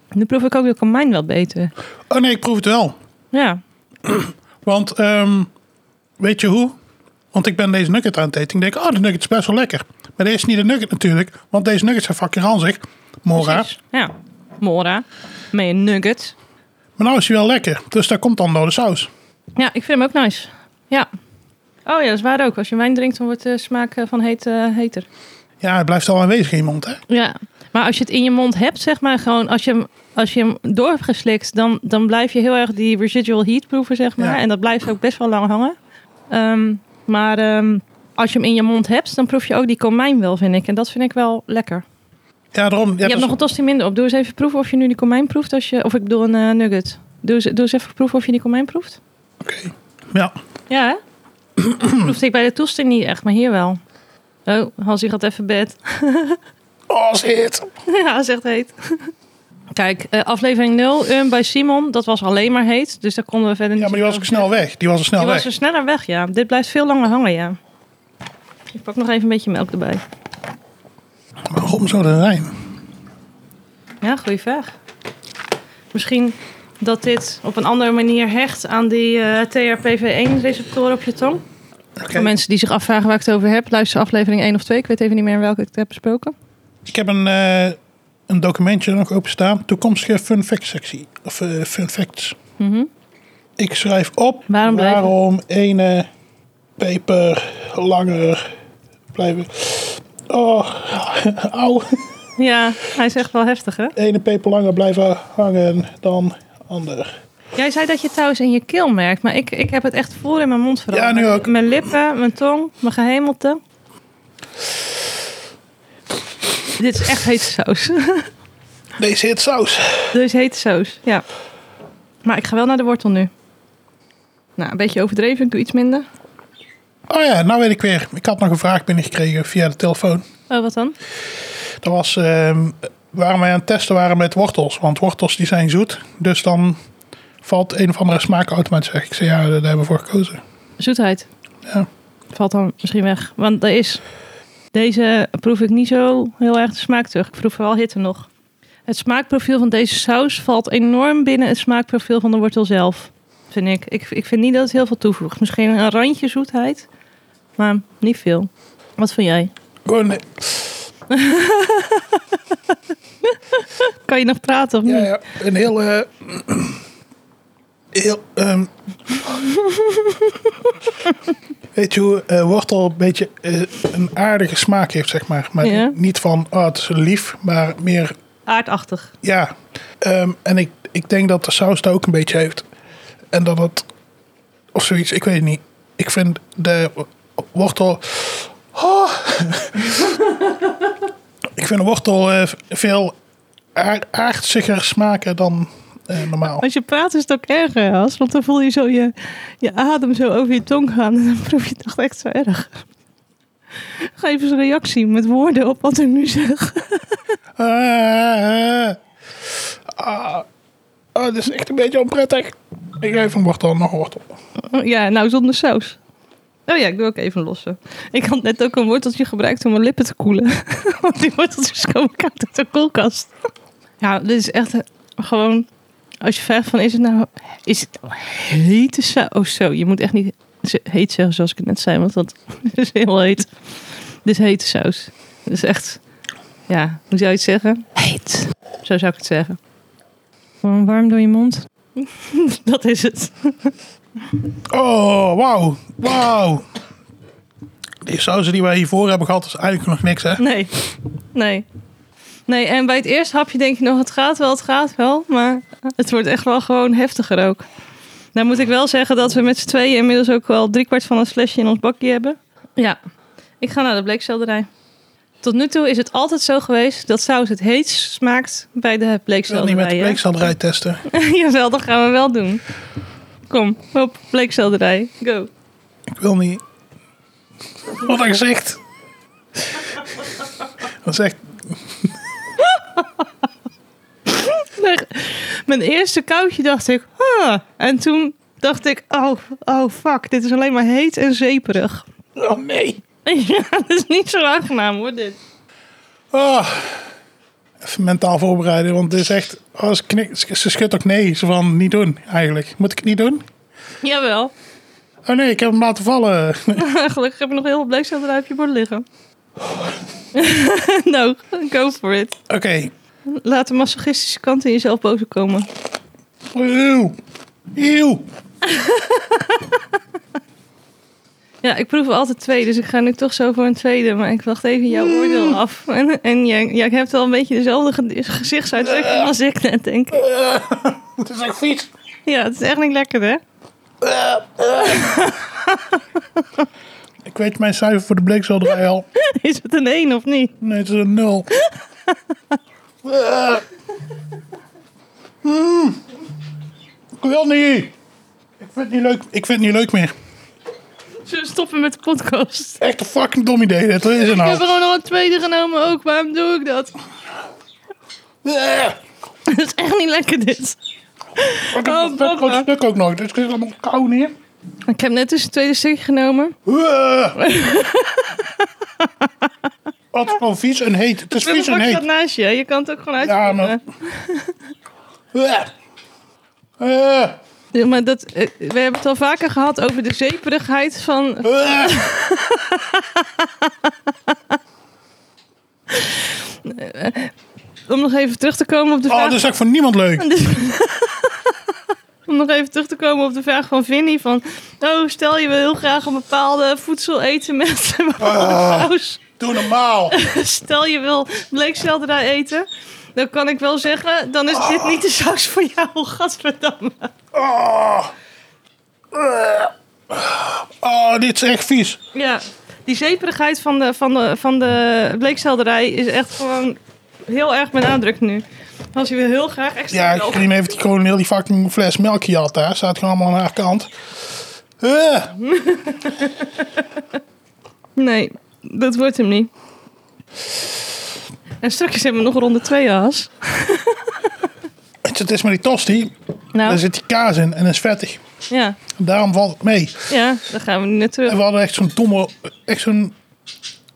S1: Nu proef ik ook de komijn wel beter.
S2: Oh nee, ik proef het wel.
S1: Ja,
S2: Want ehm, weet je hoe? Want ik ben deze nugget aan het eten. Ik denk, oh, de nugget is best wel lekker. Maar deze is niet de nugget natuurlijk. Want deze nuggets zijn fucking ranzig. Mora.
S1: Precies. Ja, Mora. Met een nugget.
S2: Maar nou is hij wel lekker. Dus daar komt dan door de saus.
S1: Ja, ik vind hem ook nice. Ja. Oh ja, dat is waar ook. Als je wijn drinkt, dan wordt de smaak eh, van heet eh, heter.
S2: Ja, hij blijft al aanwezig in je mond, hè?
S1: Ja. Maar als je het in je mond hebt, zeg maar, gewoon als je hem, als je hem door hebt geslikt, dan, dan blijf je heel erg die residual heat proeven, zeg maar.
S2: Ja.
S1: En dat blijft ook best wel lang hangen. Ehm, maar ehm, als je hem in je mond hebt, dan proef je ook die komijn wel, vind ik. En dat vind ik wel lekker.
S2: Ja, daarom.
S1: je hebt nog een tosti minder op. Doe eens even proeven of je nu die komijn proeft. Als je, of ik bedoel een eh, nugget. Doe eens, doe eens even proeven of je die komijn proeft.
S2: Oké. Ja.
S1: Ja, hè? Dat proefde ik bij de toesting niet echt, maar hier wel. Oh, Hansie gaat even bed.
S2: Oh, shit.
S1: ja, zegt heet. Kijk, eh, aflevering 0, Urn bij Simon, dat was alleen maar heet. Dus daar konden we verder
S2: Ja,
S1: niet
S2: maar die was ook
S1: over
S2: snel weg. Die was er snel
S1: Die
S2: weg.
S1: was er sneller weg, ja. Dit blijft veel langer hangen, ja. Ik pak nog even een beetje melk erbij.
S2: Waarom zou dat zijn?
S1: Ja, goede vraag. Misschien dat dit op een andere manier hecht aan die eh, TRPV1-receptoren op je tong.
S2: Oké.
S1: Voor mensen die zich afvragen waar ik het over heb, luister aflevering 1 of 2. Ik weet even niet meer in welke ik het heb besproken.
S2: Ik heb een, eh, een documentje nog openstaan. Toekomstige fun fact sectie. Of eh, fun facts.
S1: Mhm.
S2: Ik schrijf op
S1: Waarom blijven?
S2: waarom ene peper langer blijven. Oh, auw.
S1: Ja, hij is echt wel heftig, hè?
S2: Ene peper langer blijven hangen dan ander.
S1: Jij zei dat je het trouwens in je keel merkt, maar ik, ik heb het echt voor in mijn mond veranderd.
S2: Ja, nu ook.
S1: Mijn lippen, mijn tong, mijn gehemelte. Dit is echt hete saus.
S2: Deze heet saus.
S1: Dit is hete saus, ja. Maar ik ga wel naar de wortel nu. Nou, een beetje overdreven, ik doe iets minder.
S2: Oh ja, nou weet ik weer. Ik had nog een vraag binnengekregen via de telefoon.
S1: Oh, wat dan?
S2: Dat was ehm, waarom wij aan het testen waren met wortels. Want wortels die zijn zoet. Dus dan valt een of andere smaak automatisch weg. Ik zei ja, daar hebben we voor gekozen.
S1: Zoetheid.
S2: Ja.
S1: Valt dan misschien weg, want er is... Deze proef ik niet zo heel erg de smaak terug. Ik proef vooral hitte nog. Het smaakprofiel van deze saus valt enorm binnen het smaakprofiel van de wortel zelf. Vind ik. Ik, ik vind niet dat het heel veel toevoegt. Misschien een randje zoetheid, maar niet veel. Wat vind jij?
S2: Oh, nee.
S1: Kan je nog praten of niet?
S2: Ja, ja, een heel eh, heel. ehm, weet je hoe eh, wortel een beetje eh, een aardige smaak heeft, zeg maar. Maar
S1: Ja.
S2: niet van, ah, het is lief, maar meer,
S1: Aardachtig.
S2: ja. Ehm, en ik, ik denk dat de saus daar ook een beetje heeft. En dat het, of zoiets, ik weet het niet. Ik vind de wortel... Ah. ik vind de wortel eh, veel aard, aardsiger smaken dan eh, normaal.
S1: Als je praat is het ook erger, Has. Want dan voel je zo je, je adem zo over je tong gaan. En dan proef je het echt echt zo erg. Geef eens een reactie met woorden op wat ik nu zeg.
S2: Ah, ah, ah, dit is echt een beetje onprettig. Ik geef een wortel, nog een wortel.
S1: Oh, Ja, nou zonder saus. Oh ja, ik doe ook even lossen. Ik had net ook een worteltje gebruikt om mijn lippen te koelen. Want die worteltjes komen koud uit de koelkast. Ja, dit is echt eh, gewoon... Als je vraagt van, is het nou, is het nou hete saus? Oh zo, je moet echt niet ze- heet zeggen zoals ik het net zei. Want dat is heel heet. Dit is hete saus. Dit is echt... Ja, hoe zou je het zeggen? Heet. Zo zou ik het zeggen. Gewoon warm door je mond. dat is het.
S2: Oh, wauw. Wauw. Die sausen die wij hiervoor hebben gehad, is eigenlijk nog niks, hè?
S1: Nee. Nee. Nee, en bij het eerste hapje denk je nog, het gaat wel, het gaat wel. Maar het wordt echt wel gewoon heftiger ook. Nou moet ik wel zeggen dat we met z'n tweeën inmiddels ook wel driekwart van het flesje in ons bakje hebben. Ja. Ik ga naar de bleekselderij. Tot nu toe is het altijd zo geweest dat saus het heetst smaakt bij de
S2: Ik wil niet met de
S1: bleekselderij.
S2: bleekselderij testen.
S1: hè? Jawel, dat gaan we wel doen. Kom, op, bleekselderij. Go.
S2: Ik wil niet. Wat een gezicht. Dat is echt...
S1: Weg. Mijn eerste koudje dacht ik, huh. En toen dacht ik, oh, oh fuck, dit is alleen maar heet en zeeperig.
S2: Oh, nee.
S1: Ja, dat is niet zo aangenaam hoor, dit.
S2: Ah. Even mentaal voorbereiden, want dit is echt... Oh, ze, knik- ze ze schudt ook nee. Ze van, niet doen, eigenlijk. Moet ik het niet doen?
S1: Jawel.
S2: Oh nee, ik heb hem laten vallen.
S1: Gelukkig heb je nog heel veel bleekselderij op je bord liggen. nou, go for it.
S2: Oké.
S1: Laat de masochistische kant in jezelf boven komen.
S2: Eeuw. Eeuw.
S1: Ja, ik proef er altijd twee, dus ik ga nu toch zo voor een tweede. Maar ik wacht even jouw oordeel af. En, en jij, jij hebt wel een beetje dezelfde ge- gezichtsuitdrukking als ik net, denk ik.
S2: Het is echt vies.
S1: Ja, het is echt niet lekker, hè?
S2: Ik weet mijn cijfer voor de bleekselderij al.
S1: Is het een 1 of niet?
S2: Nee, het is een nul. Eh. Mm. Ik wil niet. Ik vind het niet leuk, ik vind het niet leuk meer.
S1: Zullen we stoppen met de podcast?
S2: Echt een fucking dom idee. dit. Wat is
S1: Ik heb
S2: er
S1: er
S2: nou?
S1: gewoon nog een tweede genomen ook. Waarom doe ik dat?
S2: Eh.
S1: Dat is echt niet lekker dit.
S2: Wat een
S1: Oh,
S2: vet
S1: papa.
S2: groot stuk ook nog. Dus het is allemaal kou neer.
S1: Ik heb net dus een tweede stukje genomen.
S2: Eh. Wat gewoon vies en heet. Het is
S1: Ik
S2: vies en
S1: pak
S2: heet.
S1: dat naast je. Je kan het ook gewoon
S2: Ja,
S1: uitvoeren.
S2: maar- Eh. Eh.
S1: Ja, maar dat, eh, we hebben het al vaker gehad over de zeperigheid van...
S2: Eh.
S1: Om nog even terug te komen op de
S2: Oh,
S1: vraag...
S2: dat is ook voor niemand leuk.
S1: Om nog even terug te komen op de vraag van Vinnie. Van, oh, stel je wil heel graag een bepaalde voedsel eten met een bepaalde
S2: Ah.
S1: saus.
S2: Doe normaal.
S1: Stel je wil bleekselderij eten, dan kan ik wel zeggen, dan is dit niet de saus voor jou, gadverdamme.
S2: Oh. Eh. Oh, dit is echt vies.
S1: Ja, die zeperigheid van de, van de, van de bleekselderij is echt gewoon heel erg benadrukt nu. Als je wil heel graag extra
S2: Ja,
S1: melk.
S2: Green heeft die gewoon heel die fucking fles melk gejat daar. Staat gewoon allemaal aan haar kant. Eh.
S1: Nee, dat wordt hem niet. En straks hebben we nog ronde twee, As.
S2: Weet je, Het is maar die tosti. Daar
S1: Nou,
S2: zit die kaas in en is vettig.
S1: ja,
S2: Daarom valt het mee.
S1: ja, dan gaan we nu naar
S2: En
S1: terug.
S2: we hadden echt zo'n domme... Echt zo'n...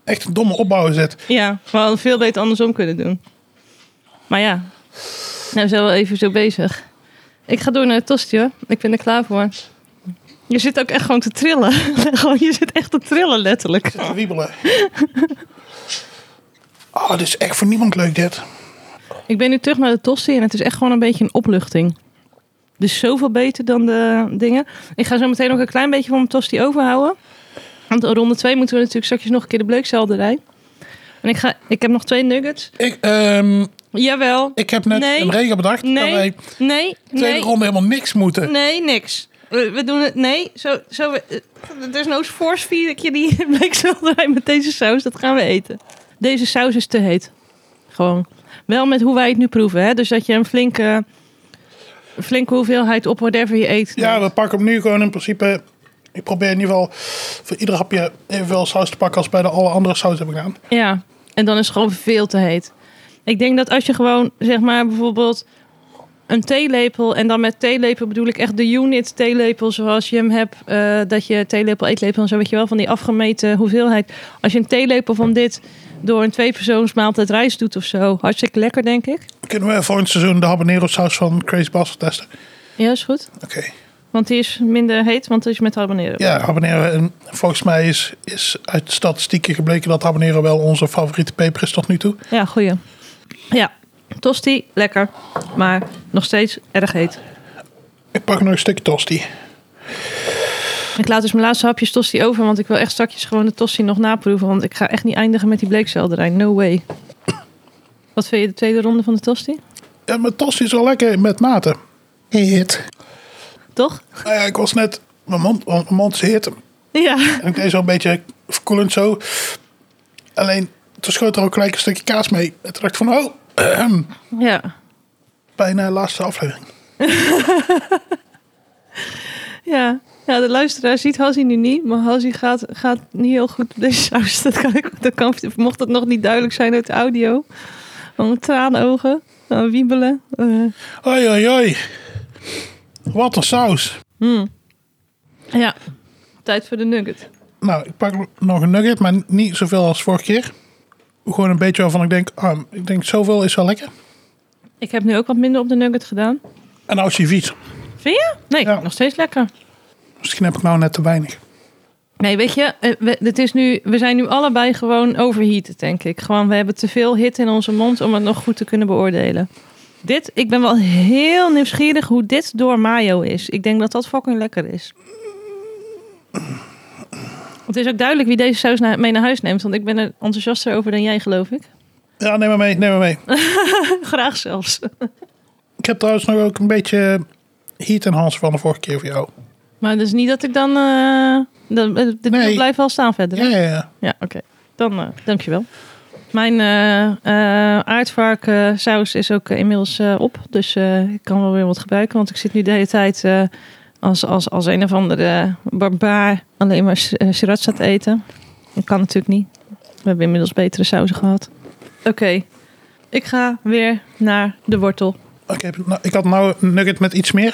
S2: Echt een domme opbouw gezet.
S1: Ja, we hadden veel beter andersom kunnen doen. Maar ja, nou zijn we wel even zo bezig. Ik ga door naar het tosti hoor. Ik ben er klaar voor. Je zit ook echt gewoon te trillen. Gewoon, je zit echt te trillen letterlijk.
S2: Zit te wiebelen. Oh, dit is echt voor niemand leuk dit.
S1: Ik ben nu terug naar de tosti en het is echt gewoon een beetje een opluchting. Dus zoveel beter dan de dingen. Ik ga zo meteen nog een klein beetje van mijn tosti overhouden. Want ronde 2 moeten we natuurlijk straks nog een keer de bleekselderij. En ik, ga, ik heb nog twee nuggets.
S2: Ik, ehm,
S1: Jawel.
S2: ik heb net
S1: Nee.
S2: een regel bedacht dat wij
S1: Nee, nee,
S2: tweede
S1: nee,
S2: ronde helemaal niks moeten.
S1: nee, niks. We, we doen het, nee. Zo, zo, we- eh, desnoods force feed ik je die bleekselderij met deze saus. Dat gaan we eten. Deze saus is te heet. Gewoon. Wel met hoe wij het nu proeven. Hè? Dus dat je een flinke, een flinke hoeveelheid op whatever je eet.
S2: Ja, we pakken hem nu gewoon in principe. Ik probeer in ieder geval voor ieder hapje evenveel saus te pakken als bij de alle andere saus heb ik gedaan.
S1: Ja, en dan is het gewoon veel te heet. Ik denk dat als je gewoon, zeg maar, bijvoorbeeld een theelepel... en dan met theelepel bedoel ik echt de unit theelepel zoals je hem hebt... eh, dat je theelepel, eetlepel en zo, weet je wel, van die afgemeten hoeveelheid. Als je een theelepel van dit door een tweepersoonsmaaltijd rijst doet of zo... hartstikke lekker, denk ik.
S2: Kunnen we volgend seizoen de habanero saus van Crazy Bastard testen?
S1: Ja, is goed.
S2: Oké.
S1: Want die is minder heet, want die is met habanero.
S2: Ja, habanero. En volgens mij is, is uit statistieken gebleken dat habanero wel onze favoriete peper is tot nu toe.
S1: Ja, goeie. Ja, tosti, lekker. Maar nog steeds erg heet.
S2: Ik pak nog een stukje tosti.
S1: Ik laat dus mijn laatste hapjes tosti over, want ik wil echt strakjes gewoon de tosti nog naproeven. Want ik ga echt niet eindigen met die bleekselderij. No way. Wat vind je de tweede ronde van de tosti?
S2: En mijn tosti is wel lekker met mate. Heet.
S1: Toch?
S2: Nou ja, ik was net... Mijn mond, mijn mond is heet.
S1: Ja.
S2: En ik deed zo een beetje verkoelend zo. Alleen, toen schoot er ook gelijk een stukje kaas mee. En toen dacht ik van, oh,
S1: Ja.
S2: bijna laatste aflevering.
S1: Ja. Ja, de luisteraar ziet Hassie nu niet, maar Hassie gaat, gaat niet heel goed op deze saus. Dat kan ik, dat kan, mocht dat nog niet duidelijk zijn uit de audio. Van traanogen, van wiebelen. eh.
S2: Oei, oei, oei. Wat een saus.
S1: ja, tijd voor de nugget.
S2: Nou, ik pak nog een nugget, maar niet zoveel als vorige keer. Gewoon een beetje waarvan ik denk, ah, ik denk zoveel is wel lekker.
S1: Ik heb nu ook wat minder op de nugget gedaan.
S2: En als je vies.
S1: Vind je? Nee,
S2: Ja.
S1: nog steeds lekker.
S2: Misschien heb ik nou net te weinig.
S1: Nee, weet je, eh, we, het is nu, we zijn nu allebei gewoon overheated, denk ik. Gewoon, we hebben te veel hit in onze mond om het nog goed te kunnen beoordelen. Dit, ik ben wel heel nieuwsgierig hoe dit door mayo is. Ik denk dat dat fucking lekker is. Het is ook duidelijk wie deze saus na- mee naar huis neemt, want ik ben er enthousiaster over dan jij, geloof ik.
S2: Ja, neem maar mee, neem maar mee.
S1: Graag zelfs.
S2: Ik heb trouwens nog ook een beetje heat en Hans van de vorige keer voor jou.
S1: Maar dus niet dat ik dan. eh dat, eh, dit
S2: Nee.
S1: blijft wel staan verder. hè?
S2: Ja, ja, ja.
S1: Ja, oké. Dan, eh dankjewel. Mijn eh eh, aardvarkensaus is ook eh, inmiddels eh, op. Dus eh, ik kan wel weer wat gebruiken. Want ik zit nu de hele tijd eh, als, als, als een of andere barbaar alleen maar s- eh, sriracha te eten. Dat kan natuurlijk niet. We hebben inmiddels betere sauzen gehad. Oké, ik ga weer naar de wortel.
S2: Oké, nou, ik had nou een nugget met iets meer.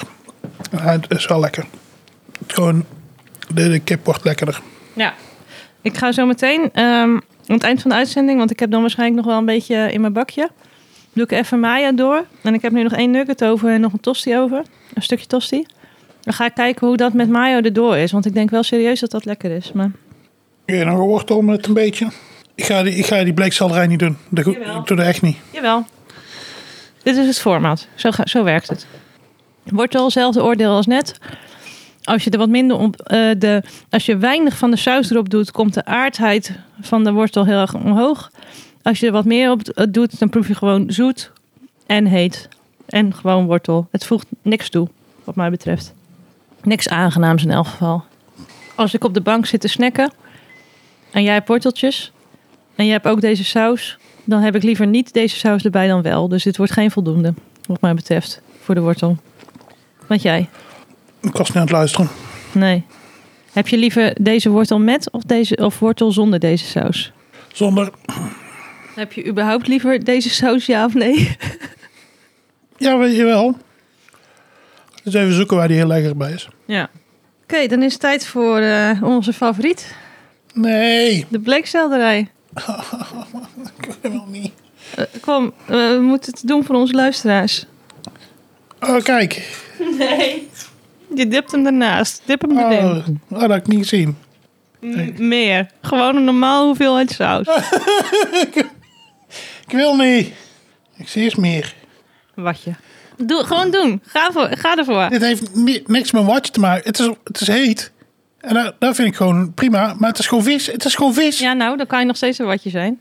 S2: Ja, het is wel lekker. Gewoon, de, de kip wordt lekkerder.
S1: Ja. Ik ga zo meteen ehm, aan het eind van de uitzending, want ik heb dan waarschijnlijk nog wel een beetje in mijn bakje. Doe ik even Maya door. En ik heb nu nog één nugget over en nog een tosti over. Een stukje tosti. Dan ga ik kijken hoe dat met mayo erdoor is. Want ik denk wel serieus dat dat lekker is. Maar
S2: Kun je nog een wortel met een beetje? Ik ga die, ik ga die bleekselderij niet doen. Dat go-
S1: Jawel.
S2: ik doe dat echt niet.
S1: jawel. Dit is het format. Zo, ga, zo werkt het. Wortel, hetzelfde oordeel als net. Als je er wat minder op. eh, de, als je weinig van de saus erop doet, komt de aardheid van de wortel heel erg omhoog. Als je er wat meer op eh, doet, dan proef je gewoon zoet en heet. En gewoon wortel. Het voegt niks toe, wat mij betreft. Niks aangenaams in elk geval. Als ik op de bank zit te snacken en jij hebt worteltjes en jij hebt ook deze saus, dan heb ik liever niet deze saus erbij dan wel. Dus dit wordt geen voldoende, wat mij betreft, voor de wortel. Wat jij?
S2: Ik was niet aan het luisteren.
S1: Nee. Heb je liever deze wortel met of, deze, of wortel zonder deze saus?
S2: Zonder...
S1: Heb je überhaupt liever deze saus, ja of nee?
S2: Ja, weet je wel. Dus even zoeken waar die heel lekker bij is.
S1: Ja. Oké, dan is het tijd voor eh, onze favoriet,
S2: Nee,
S1: de bleekselderij.
S2: ik wil niet.
S1: Eh, kom, eh, we moeten het doen voor onze luisteraars.
S2: Oh, kijk.
S1: Nee. Je dipt hem ernaast. Dip hem erin.
S2: Oh, oh, dat had ik niet gezien.
S1: M- meer. Gewoon een normaal hoeveelheid saus.
S2: Ik wil niet. Ik zie eens meer.
S1: Watje. Doe, gewoon doen. Ga, voor, ga ervoor.
S2: Dit heeft ni- niks met watch te maken. Het is, het is heet. En dat, dat vind ik gewoon prima. Maar het is gewoon vis. Het is gewoon vis. Ja,
S1: Ja, nou, dan kan je nog steeds een watje zijn.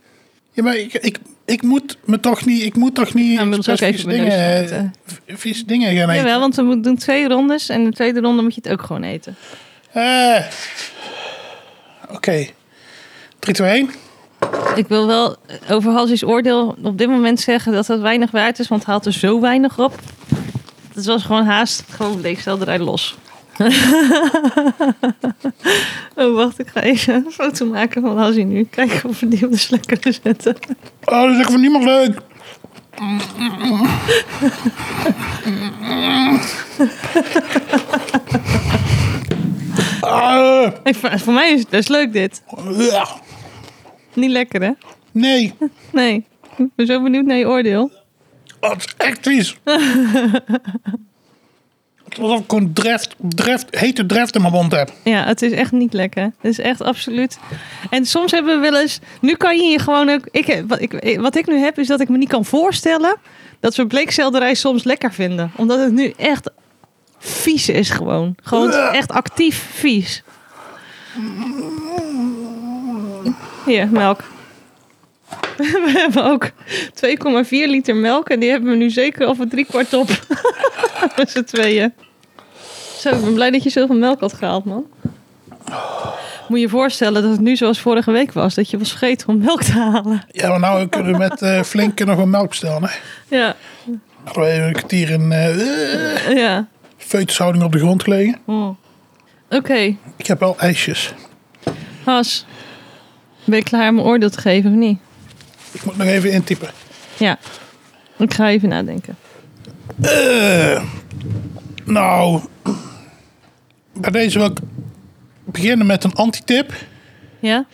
S2: maar ik, ik, ik moet me toch niet... Ik moet toch niet...
S1: Ja, maar dat is ook
S2: expres
S1: even mijn
S2: vieze
S1: neus
S2: dingen, eh, vieze dingen gaan eten.
S1: Jawel, want we moeten- doen twee rondes. En de tweede ronde moet je het ook gewoon eten.
S2: Eh. Oké. 3, 2, 1.
S1: Ik wil wel over Halsey's oordeel op dit moment zeggen dat dat weinig waard is, want hij haalt er zo weinig op. Het was gewoon haast, gewoon bleekstel eruit los. oh, wacht, ik ga even een foto maken van Halsey nu. Kijken of we die op de Slack kunnen zetten.
S2: Oh, dat is echt voor niemand leuk. Ah,
S1: Ik, voor mij is het best leuk dit.
S2: ja.
S1: Niet lekker, hè?
S2: nee,
S1: Nee. Ik ben zo benieuwd naar je oordeel.
S2: dat is echt vies. Het was ook gewoon dreft, dreft, hete dreft in mijn mond heb.
S1: Ja, het is echt niet lekker. Het is echt absoluut. En soms hebben we wel eens. Nu kan je je gewoon ook. Ik, heb- wat, ik, eh, wat ik nu heb, is dat ik me niet kan voorstellen. dat we bleekselderij soms lekker vinden. Omdat het nu echt vies is, gewoon. Gewoon het is echt actief vies. Hier, melk. We hebben ook 2,4 liter melk. En die hebben we nu zeker over drie kwart op. Met z'n tweeën. Zo, ik ben blij dat je zoveel melk had gehaald, man. Moet je je voorstellen dat het nu zoals vorige week was. Dat je was vergeten om melk te halen.
S2: Ja, maar nou kunnen we met eh flink kunnen we gewoon melk bestellen. Hè?
S1: Ja,
S2: Hadden we even een kwartier in eh eh,
S1: ja.
S2: feutushouding op de grond gelegen.
S1: Oh. Oké,
S2: Ik heb wel ijsjes.
S1: Has. Ben je klaar om mijn oordeel te geven of niet?
S2: Ik moet nog even intypen.
S1: Ja. Ik ga even nadenken.
S2: Eh, nou, bij deze wil ik beginnen met een antitip.
S1: Ja?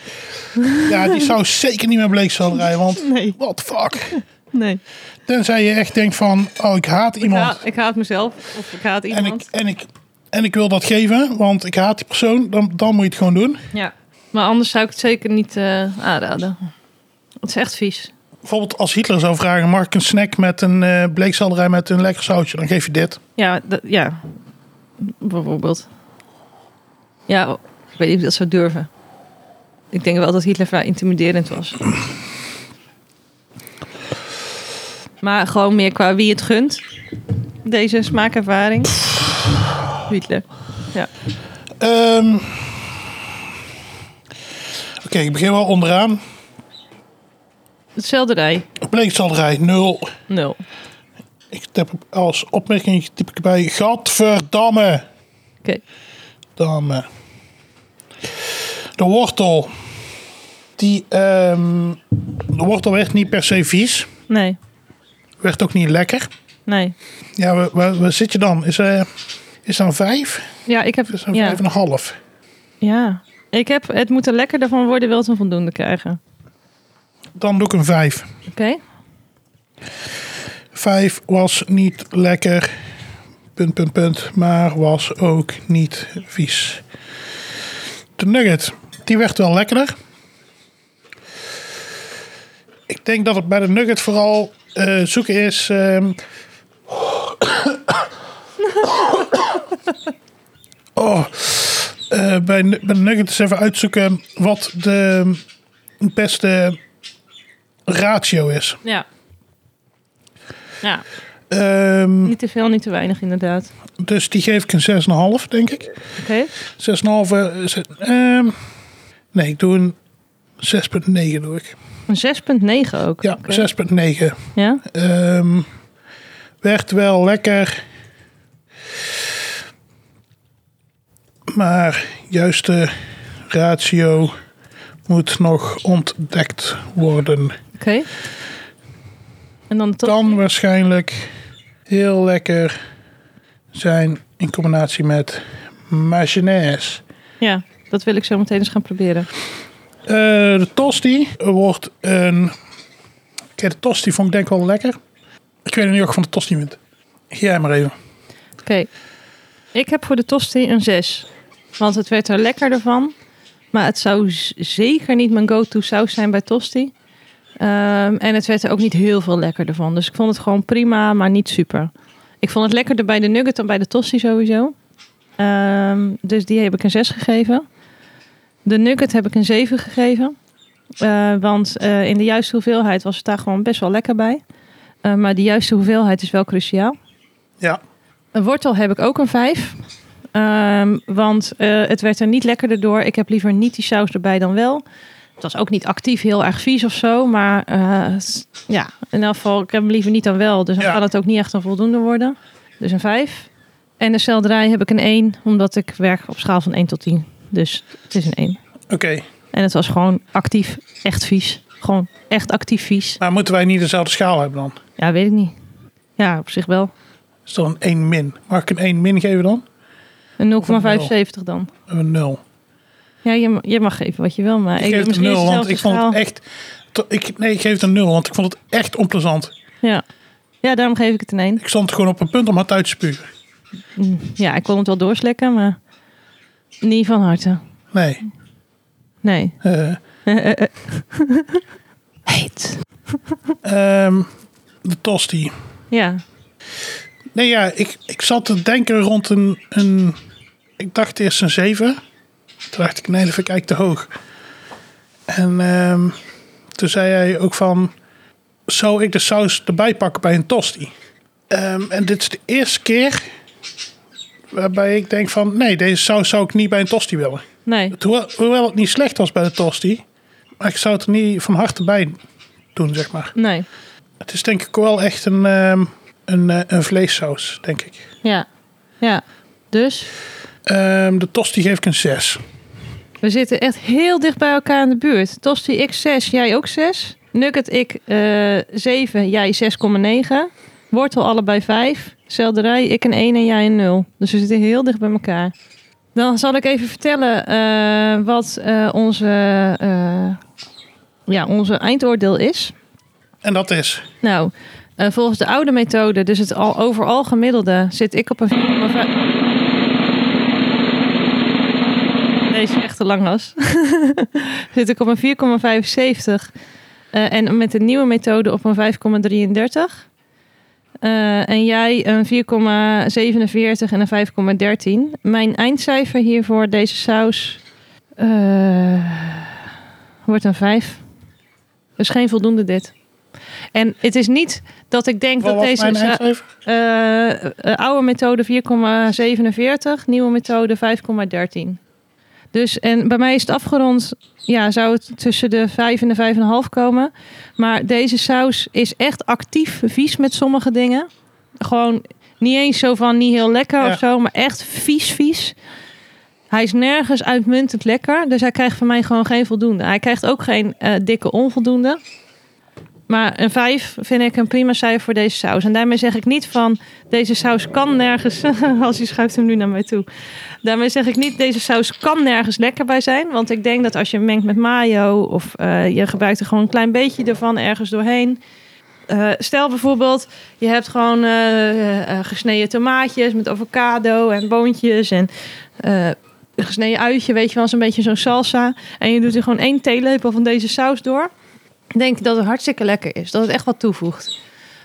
S2: Ja, die zou zeker niet meer bleekselderij, want
S1: Nee.
S2: what the fuck.
S1: Nee.
S2: Tenzij je echt denkt van, oh, ik haat
S1: Ik,
S2: iemand
S1: haat- ik haat mezelf. Of ik haat
S2: en,
S1: iemand.
S2: ik, en, ik, en ik wil dat geven, want ik haat die persoon, dan, dan moet je het gewoon doen.
S1: Ja. Maar anders zou ik het zeker niet eh, aanraden. Het is echt vies.
S2: Bijvoorbeeld als Hitler zou vragen, mag ik een snack met een eh, bleekselderij met een lekker sausje, dan geef je dit.
S1: Ja, dat- ja. Bijvoorbeeld. Ja, ik weet niet of ik dat zou durven. Ik denk wel dat Hitler vrij intimiderend was. Maar gewoon meer qua wie het gunt. Deze smaakervaring. Hitler. Ja.
S2: Ehm, Oké, ik begin wel onderaan.
S1: Selderij.
S2: Bleekselderij, nul.
S1: Nul.
S2: Ik typ op- als opmerking typ ik erbij. Gadverdamme.
S1: Oké.
S2: Damme. De wortel. Die, ehm, de wortel werd niet per se vies.
S1: Nee.
S2: Werd ook niet lekker.
S1: Nee.
S2: Ja, waar, waar, waar zit je dan? Is, eh is dan vijf?
S1: Ja, ik heb... dus
S2: Is dan
S1: ja.
S2: vijf en een half?
S1: ja. Ik heb... Het moet er lekkerder van worden, wil het een voldoende krijgen.
S2: Dan doe ik een vijf.
S1: Oké.
S2: Vijf was niet lekker. Punt, punt, punt. Maar was ook niet vies. De nugget. Die werd wel lekkerder. Ik denk dat het bij de nugget vooral eh, zoeken is. ehm, oh. eh, bij, nu- bij de nugget is even uitzoeken wat de beste ratio is.
S1: Ja. Ja.
S2: Ehm,
S1: Niet te veel, niet te weinig inderdaad.
S2: Dus die geef ik een 6,5, denk ik.
S1: Oké.
S2: 6,5. eh, ze- ehm, nee, ik doe een 6,9 doe ik.
S1: Een 6,9 ook.
S2: Ja,
S1: Oké.
S2: 6,9.
S1: Ja?
S2: Ehm, werd wel lekker. Maar juiste ratio moet nog ontdekt worden.
S1: Oké. En dan tot...
S2: Kan waarschijnlijk heel lekker zijn in combinatie met mayonaise.
S1: Ja, dat wil ik zo meteen eens gaan proberen.
S2: Eh, de tosti wordt een... Kijk, de tosti vond ik denk ik wel lekker. Ik weet niet of ik van de tosti wint. Jij maar even.
S1: Oké. Ik heb voor de tosti een 6. Want het werd er lekkerder van. Maar het zou z- zeker niet mijn go-to saus zijn bij tosti. Ehm, en het werd er ook niet heel veel lekkerder van. Dus ik vond het gewoon prima, maar niet super. Ik vond het lekkerder bij de nugget dan bij de tosti sowieso. Ehm, dus die heb ik een 6 gegeven. De nugget heb ik een 7 gegeven. Eh, want eh, in de juiste hoeveelheid was het daar gewoon best wel lekker bij. Eh, maar de juiste hoeveelheid is wel cruciaal.
S2: Ja.
S1: Een wortel heb ik ook een 5. Ehm, want eh, het werd er niet lekkerder door. Ik heb liever niet die saus erbij dan wel. Het was ook niet actief heel erg vies of zo. Maar eh, s- ja, in elk geval, ik heb hem liever niet dan wel. Dus dan
S2: Ja.
S1: kan het ook niet echt een voldoende worden. Dus een 5. En de selderij heb ik een 1. Omdat ik werk op schaal van 1 tot 10. Dus het is een 1.
S2: Oké,
S1: En het was gewoon actief echt vies. Gewoon echt actief vies.
S2: maar moeten wij niet dezelfde schaal hebben dan?
S1: Ja, weet ik niet. Ja, op zich wel.
S2: Is dat een 1 min? Mag ik een 1 min geven dan?
S1: Een 0,75 dan.
S2: Een 0.
S1: Ja, je, ma- je mag geven wat je wil, maar
S2: Ik geef het een
S1: misschien is
S2: 0, want
S1: zelfs
S2: ik
S1: de
S2: vond het
S1: schaal-
S2: echt... to- Ik, nee, ik geef het een 0, want ik vond het echt onplezant.
S1: Ja. ja, daarom geef ik het een 1.
S2: Ik stond gewoon op een punt om het uit te spugen.
S1: Ja, ik kon het wel doorslekken, maar niet van harte.
S2: Nee.
S1: Nee.
S2: eh,
S1: Heet.
S2: ehm, de tosti.
S1: Ja.
S2: Nee, ja, ik, ik zat te denken rond een, een... Ik dacht eerst een 7. Toen dacht ik, nee, dat vind ik eigenlijk te hoog. En ehm, toen zei hij ook van... Zou ik de saus erbij pakken bij een tosti? Ehm, en dit is de eerste keer... waarbij ik denk van... Nee, deze saus zou ik niet bij een tosti willen.
S1: Nee.
S2: Hoewel, hoewel het niet slecht was bij de tosti... maar ik zou het er niet van harte bij doen, zeg maar.
S1: Nee.
S2: Het is denk ik wel echt een, ehm, een, eh, een vleessaus, denk ik.
S1: Ja. Ja. Dus
S2: Ehm, de tosti geef ik een 6.
S1: we zitten echt heel dicht bij elkaar in de buurt. Tosti, ik 6, jij ook 6. Nugget, ik eh 7, jij 6,9. Wortel, allebei 5. Selderij, ik een 1 en jij een 0. Dus we zitten heel dicht bij elkaar. Dan zal ik even vertellen eh, wat eh, onze, eh, ja, onze eindoordeel is.
S2: En dat is.
S1: Nou, eh, volgens de oude methode, dus het al, overal gemiddelde, zit ik op een 4,5. Deze is echt te lang was. zit ik op een 4,75. eh, en met de nieuwe methode op een 5,33. Eh, en jij een 4,47 en een 5,13. Mijn eindcijfer hier voor deze saus eh, wordt een 5. Dus geen voldoende dit. En het is niet dat ik denk
S2: Wat
S1: dat dus,
S2: was
S1: deze
S2: mijn
S1: sa-
S2: eindcijfer?
S1: eh, eh, oude methode 4,47, nieuwe methode 5,13. Dus en bij mij is het afgerond, ja, zou het tussen de 5 en de 5,5 komen. Maar deze saus is echt actief vies met sommige dingen. Gewoon niet eens zo van niet heel lekker
S2: Ja.
S1: of zo, maar echt vies, vies. Hij is nergens uitmuntend lekker, dus hij krijgt van mij gewoon geen voldoende. Hij krijgt ook geen eh, dikke onvoldoende. Maar een 5 vind ik een prima cijfer voor deze saus. En daarmee zeg ik niet van deze saus kan nergens. als je schuift hem nu naar mij toe. Daarmee zeg ik niet deze saus kan nergens lekker bij zijn. Want ik denk dat als je hem mengt met mayo of eh, je gebruikt er gewoon een klein beetje ervan ergens doorheen. Eh, stel bijvoorbeeld, je hebt gewoon eh, eh, gesneden tomaatjes met avocado en boontjes en eh, een gesneden uitje, weet je wel, zo'n beetje zo'n salsa. En je doet er gewoon één theelepel van deze saus door denk ik dat het hartstikke lekker is. Dat het echt wat toevoegt.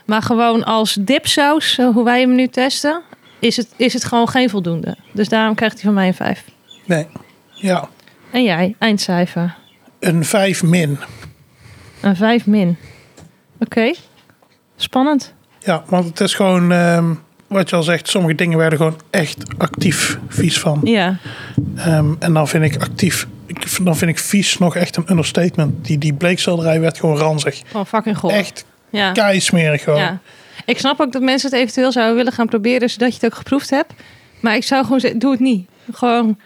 S1: Maar gewoon als dipsaus, eh, hoe wij hem nu testen, is het, is het gewoon geen voldoende. Dus daarom krijgt hij van mij een 5.
S2: Nee. Ja,
S1: En jij, eindcijfer.
S2: een 5 min.
S1: Een 5 min. Oké. Spannend.
S2: Ja, want het is gewoon. ehm, wat je al zegt, sommige dingen werden gewoon echt actief vies van.
S1: Ja.
S2: Ehm, en dan vind ik actief. ik- Dan vind ik vies nog echt een understatement. Die, die bleekselderij werd gewoon ranzig.
S1: Gewoon fucking goor.
S2: Echt
S1: Ja.
S2: keismerig gewoon.
S1: ja. Ik snap ook dat mensen het eventueel zouden willen gaan proberen, zodat je het ook geproefd hebt. Maar ik zou gewoon zeggen, doe het niet. Gewoon,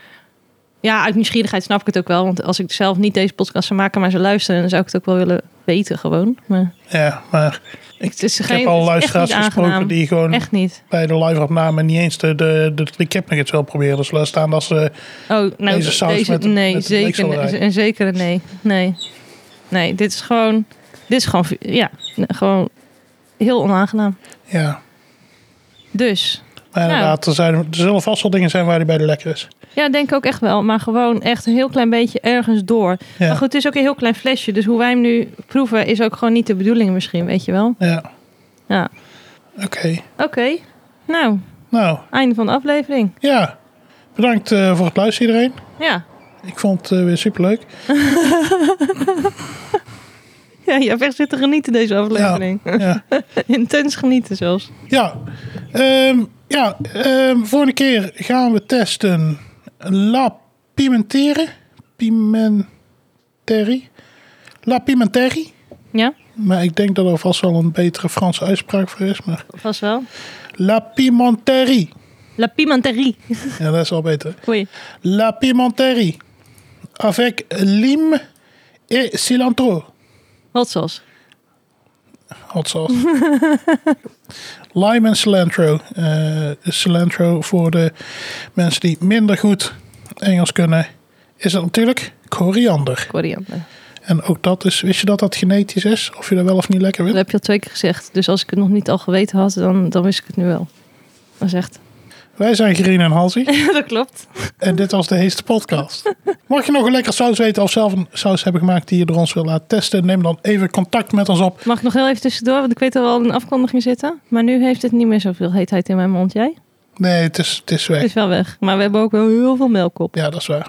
S1: ja, uit nieuwsgierigheid snap ik het ook wel. Want als ik zelf niet deze podcast zou maken, maar zou luisteren, dan zou ik het ook wel willen weten gewoon. Maar
S2: Ja, maar
S1: het is
S2: ik
S1: geen,
S2: heb al
S1: het is echt
S2: luisteraars
S1: niet aangenaam.
S2: gesproken die gewoon
S1: Echt niet.
S2: bij de live-opname niet eens de, de, de, de kipnuggets wel proberen. Dus laat staan dat ze
S1: Oh, nou,
S2: Deze saus met de-
S1: nee,
S2: met de
S1: zeker,
S2: bleekselderij.
S1: een zekere nee. Nee, nee, dit is gewoon, dit is gewoon, ja, gewoon heel onaangenaam.
S2: Ja,
S1: Dus,
S2: maar Nou, inderdaad, er, zijn, er zullen vast wel dingen zijn waar die bij de lekker is.
S1: Ja, denk ik ook echt wel. Maar gewoon echt een heel klein beetje ergens door.
S2: Ja.
S1: Maar goed, het is ook een heel klein flesje. Dus hoe wij hem nu proeven is ook gewoon niet de bedoeling misschien, weet je wel.
S2: Ja,
S1: Ja.
S2: oké.
S1: Oké. Nou,
S2: Nou,
S1: einde van de aflevering.
S2: ja. Bedankt eh, voor het luisteren iedereen.
S1: Ja.
S2: Ik vond het eh, weer superleuk.
S1: Ja, je hebt echt zitten genieten deze aflevering.
S2: Ja.
S1: Intens genieten zelfs.
S2: Ja, Ehm, ja ehm, volgende keer gaan we testen La Pimenteri. Pimenteri. La Pimenteri.
S1: Ja,
S2: Maar ik denk dat er vast wel een betere Franse uitspraak voor is. Maar
S1: vast wel.
S2: La Pimenteri.
S1: La pimenterie.
S2: Ja, dat is al beter.
S1: Goeie.
S2: La Pimenteri. Avec lime et cilantro.
S1: Wat zoals?
S2: Hot sauce. Lime en cilantro. Eh, cilantro voor de mensen die minder goed Engels kunnen, is dat natuurlijk koriander.
S1: Koriander.
S2: En ook dat is, wist je dat dat genetisch is? Of je dat wel of niet lekker
S1: Dat
S2: vindt?
S1: heb je al twee keer gezegd. Dus als ik het nog niet al geweten had, dan, dan wist ik het nu wel. Dat is echt.
S2: Wij zijn Gerine en Halsey
S1: dat klopt.
S2: en dit was de Heeste Podcast. Mocht je nog een lekker saus weten of zelf een saus hebben gemaakt die je door ons wil laten testen, neem dan even contact met ons op.
S1: Mag ik nog heel even tussendoor, want ik weet dat we al een afkondiging zitten. Maar nu heeft het niet meer zoveel heetheid in mijn mond. Jij?
S2: Nee, het is, het is
S1: Het
S2: weg.
S1: is wel weg. Maar we hebben ook wel heel veel melk op.
S2: Ja, dat is waar.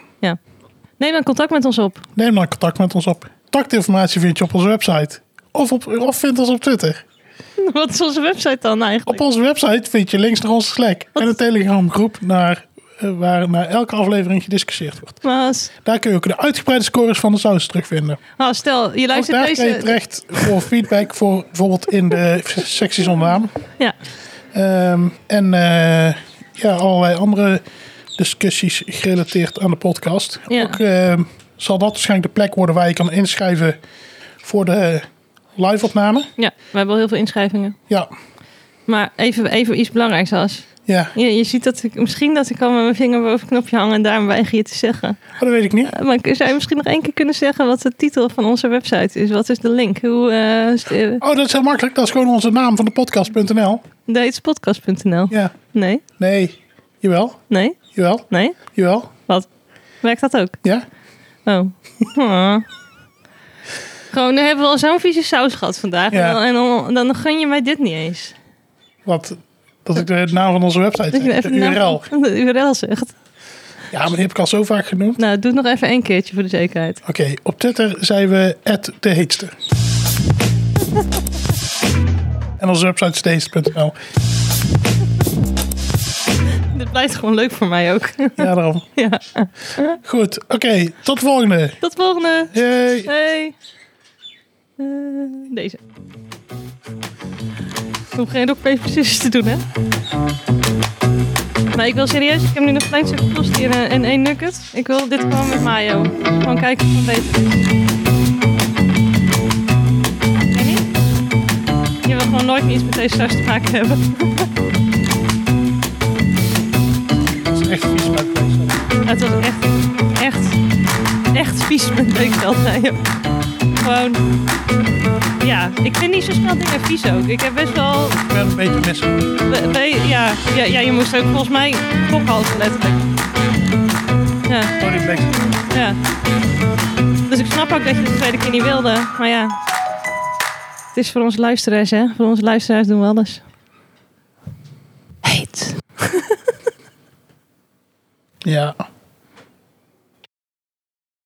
S1: Neem dan contact met ons op.
S2: Neem dan contact met ons op. Contactinformatie vind je op onze website. Of, op, of vind ons op Twitter.
S1: Wat is onze website dan
S2: Op
S1: eigenlijk?
S2: onze website vind je links naar onze Slack en een Telegram groep naar, eh, waar naar elke aflevering gediscussieerd wordt.
S1: Maar als-
S2: Daar kun je ook de uitgebreide scores van de saus terugvinden.
S1: ah, stel, je
S2: Ook
S1: luistert
S2: daar kun je
S1: deze...
S2: terecht voor feedback, voor bijvoorbeeld in de sectie zonder naam.
S1: Ja,
S2: Ehm, en eh, ja, allerlei andere discussies gerelateerd aan de podcast.
S1: Ja.
S2: Ook ehm, zal dat waarschijnlijk de plek worden waar je kan inschrijven voor de live-opname.
S1: ja, we hebben al heel veel inschrijvingen.
S2: Ja,
S1: Maar even, even iets belangrijks als.
S2: ja.
S1: Je, je ziet dat ik misschien dat ik al met mijn vinger boven het knopje hang en daarom weiger je te zeggen.
S2: Oh, dat weet ik niet.
S1: Eh, Maar ik- zou je misschien nog één keer kunnen zeggen wat de titel van onze website is? Wat is de link? Hoe eh, st- eh
S2: Oh, dat is heel makkelijk. Dat is gewoon onze naam van de podcast.nl.
S1: datespodcast.nl?
S2: Ja.
S1: Nee,
S2: Nee. Jawel.
S1: nee,
S2: Jawel.
S1: nee.
S2: Jawel.
S1: Wat? Werkt dat ook?
S2: Ja.
S1: Oh. Ah. Gewoon, dan hebben we al zo'n vieze saus gehad vandaag.
S2: Ja.
S1: En, dan, en dan, dan gun je mij dit niet eens.
S2: Wat? Dat ik de naam van onze website
S1: Dat je
S2: zeg. De
S1: even de naam
S2: URL.
S1: van de URL zegt.
S2: Ja, maar die heb ik al zo vaak genoemd.
S1: Nou, doe het nog even één keertje voor de zekerheid.
S2: Oké, op Twitter zijn we de heetste. en onze website is deheetste.nl.
S1: Dit blijft gewoon leuk voor mij ook.
S2: Ja, daarom.
S1: ja.
S2: Goed, oké. tot de volgende.
S1: Tot volgende.
S2: Yay.
S1: Hey. Eh, deze. Ik hoef geen rock, paper, scissors te doen, hè? Maar ik wil serieus, ik heb nu nog een klein stukje tost hier eh, en één nugget. Ik wil dit gewoon met mayo. Gewoon kijken of het beter is. Ken je niet? Je wil gewoon nooit meer iets met deze saus te maken hebben.
S2: Dat is echt vies met deze.
S1: Het was echt, echt, echt vies met weekgeld. Gewoon, ja, ik vind niet zo snel dingen vies ook. Ik heb best wel,
S2: Ik ben een beetje missen.
S1: we- we- ja, ja, ja, je moest ook volgens mij kokhalzen letterlijk. Ja,
S2: Sorry, Blake.
S1: ja. Dus ik snap ook dat je de tweede keer niet wilde, maar ja. Het is voor onze luisteraars, hè. Voor onze luisteraars doen we alles. Heet.
S2: Ja.